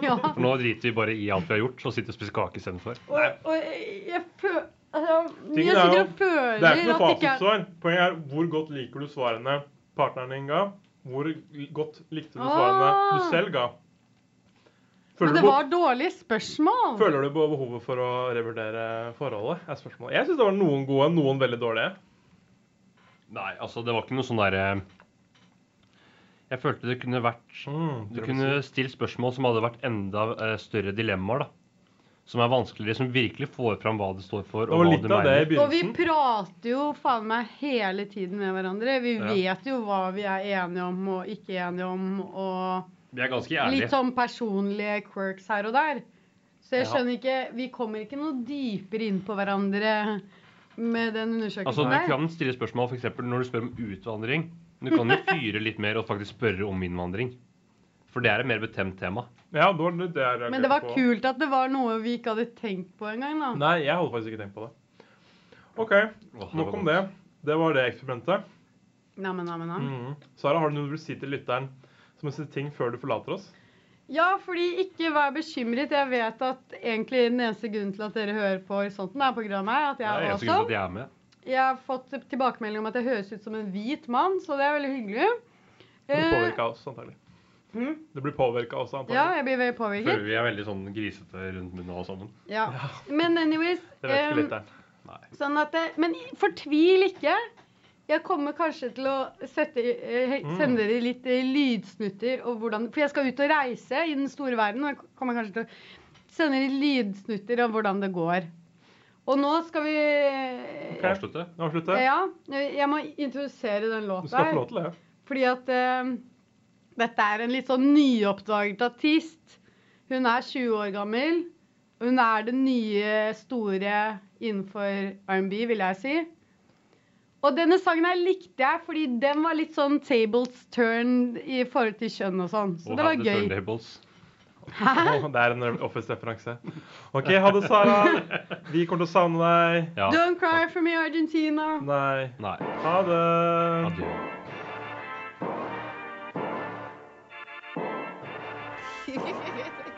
Speaker 4: ja.
Speaker 5: For nå driter vi bare i alt vi har gjort, og sitter og spiser kake istedenfor.
Speaker 4: Og, og jeg, jeg føler altså, Jeg
Speaker 3: Tingen er
Speaker 4: sitter
Speaker 3: jo-
Speaker 4: og føler
Speaker 3: Det er ikke noe
Speaker 4: at det ikke er
Speaker 3: fasitsvar. Poenget er hvor godt liker du svarene partneren din ga? Hvor l- godt likte du
Speaker 4: Ah.
Speaker 3: svarene du selv ga? Føler
Speaker 4: Men
Speaker 3: du,
Speaker 4: det
Speaker 3: på,
Speaker 4: var dårlige spørsmål.
Speaker 3: føler du på behovet for å revurdere forholdet? Er spørsmålet. Jeg syns det var noen gode, noen veldig dårlige.
Speaker 5: Nei, altså det var ikke noe sånn derre Jeg følte det kunne vært sånn, Du
Speaker 3: Mm, det
Speaker 5: kunne stilt spørsmål som hadde vært enda eh, større dilemmaer, da. Som er vanskeligere, som virkelig får fram hva det står for,
Speaker 3: Det
Speaker 5: og
Speaker 3: var
Speaker 5: hva
Speaker 3: litt
Speaker 5: det
Speaker 3: av det i
Speaker 5: mener.
Speaker 4: Og vi prater jo faen meg hele tiden med hverandre. Vi
Speaker 5: Ja.
Speaker 4: vet jo hva vi er enige om og ikke enige om, og
Speaker 5: Vi er ganske ærlige.
Speaker 4: litt sånn personlige quirks her og der. Så jeg
Speaker 5: Ja.
Speaker 4: skjønner ikke Vi kommer ikke noe dypere inn på hverandre med den
Speaker 5: Altså,
Speaker 4: undersøkelsen
Speaker 5: du
Speaker 4: der.
Speaker 5: kan stille spørsmål for eksempel når du spør om utvandring. Men du kan jo fyre litt mer og faktisk spørre om innvandring. For det er et mer betemt tema.
Speaker 3: Ja, det var det jeg reagerte
Speaker 4: Men det var
Speaker 3: på.
Speaker 4: kult at det var noe vi ikke hadde tenkt på engang, da.
Speaker 3: Nei, jeg hadde faktisk ikke tenkt på det. OK, nok
Speaker 5: var
Speaker 3: om det. Det var det eksperimentet.
Speaker 4: Neimen, neimen, neimen.
Speaker 3: Mm. Sara, har du noe du vil si til lytteren som en ting før du forlater oss?
Speaker 4: Ja, fordi ikke vær bekymret. Jeg vet at egentlig den eneste grunnen til at dere hører på Horisonten, er på grunn av meg. At
Speaker 5: Det er
Speaker 4: jeg
Speaker 5: eneste grunn til at
Speaker 4: også.
Speaker 5: jeg er med.
Speaker 4: Jeg har fått tilbakemelding om at jeg høres ut som en hvit mann, så det er veldig hyggelig.
Speaker 3: Det blir
Speaker 4: Eh,
Speaker 3: påvirka av oss, antagelig.
Speaker 4: Mm.
Speaker 3: Det blir påvirket av oss, antagelig.
Speaker 4: ja, jeg blir veldig påvirket.
Speaker 5: Føler vi er veldig sånn grisete rundt munnen alle sammen. (laughs)
Speaker 4: Ja. Men anyways
Speaker 5: Det vet ikke
Speaker 4: em,
Speaker 5: lytteren. Nei.
Speaker 4: sånn at det, Men fortvil ikke. Jeg kommer kanskje til å sette, eh,
Speaker 3: Mm.
Speaker 4: sende dere litt eh, lydsnutter. Og hvordan, for jeg skal ut og reise i den store verden. Og jeg kommer kanskje til å sende dere lydsnutter av hvordan det går. Og nå skal vi
Speaker 3: Ok.
Speaker 5: Avslutte.
Speaker 3: Avslutte.
Speaker 4: Ja, jeg må introdusere den
Speaker 3: Du
Speaker 4: låta.
Speaker 3: skal
Speaker 4: her.
Speaker 3: få lov til det.
Speaker 4: Fordi at eh, dette er en litt sånn nyoppdaget artist. Hun er 20 år gammel. Og hun er det nye store innenfor R&B, vil jeg si. Og denne sangen her likte jeg, fordi den var litt sånn tables turn i forhold til kjønn og sånn. Så
Speaker 5: Og
Speaker 4: det
Speaker 5: have
Speaker 4: var
Speaker 5: the
Speaker 4: gøy.
Speaker 5: turntables.
Speaker 3: Å, det er en Office-referanse. OK, ha det, Sara.
Speaker 4: (laughs)
Speaker 3: Vi kommer til å savne deg.
Speaker 5: Ja.
Speaker 4: Don't cry for me, Argentina.
Speaker 3: Nei.
Speaker 5: Nei.
Speaker 3: Ha det.
Speaker 5: Adjø.
Speaker 9: Nei.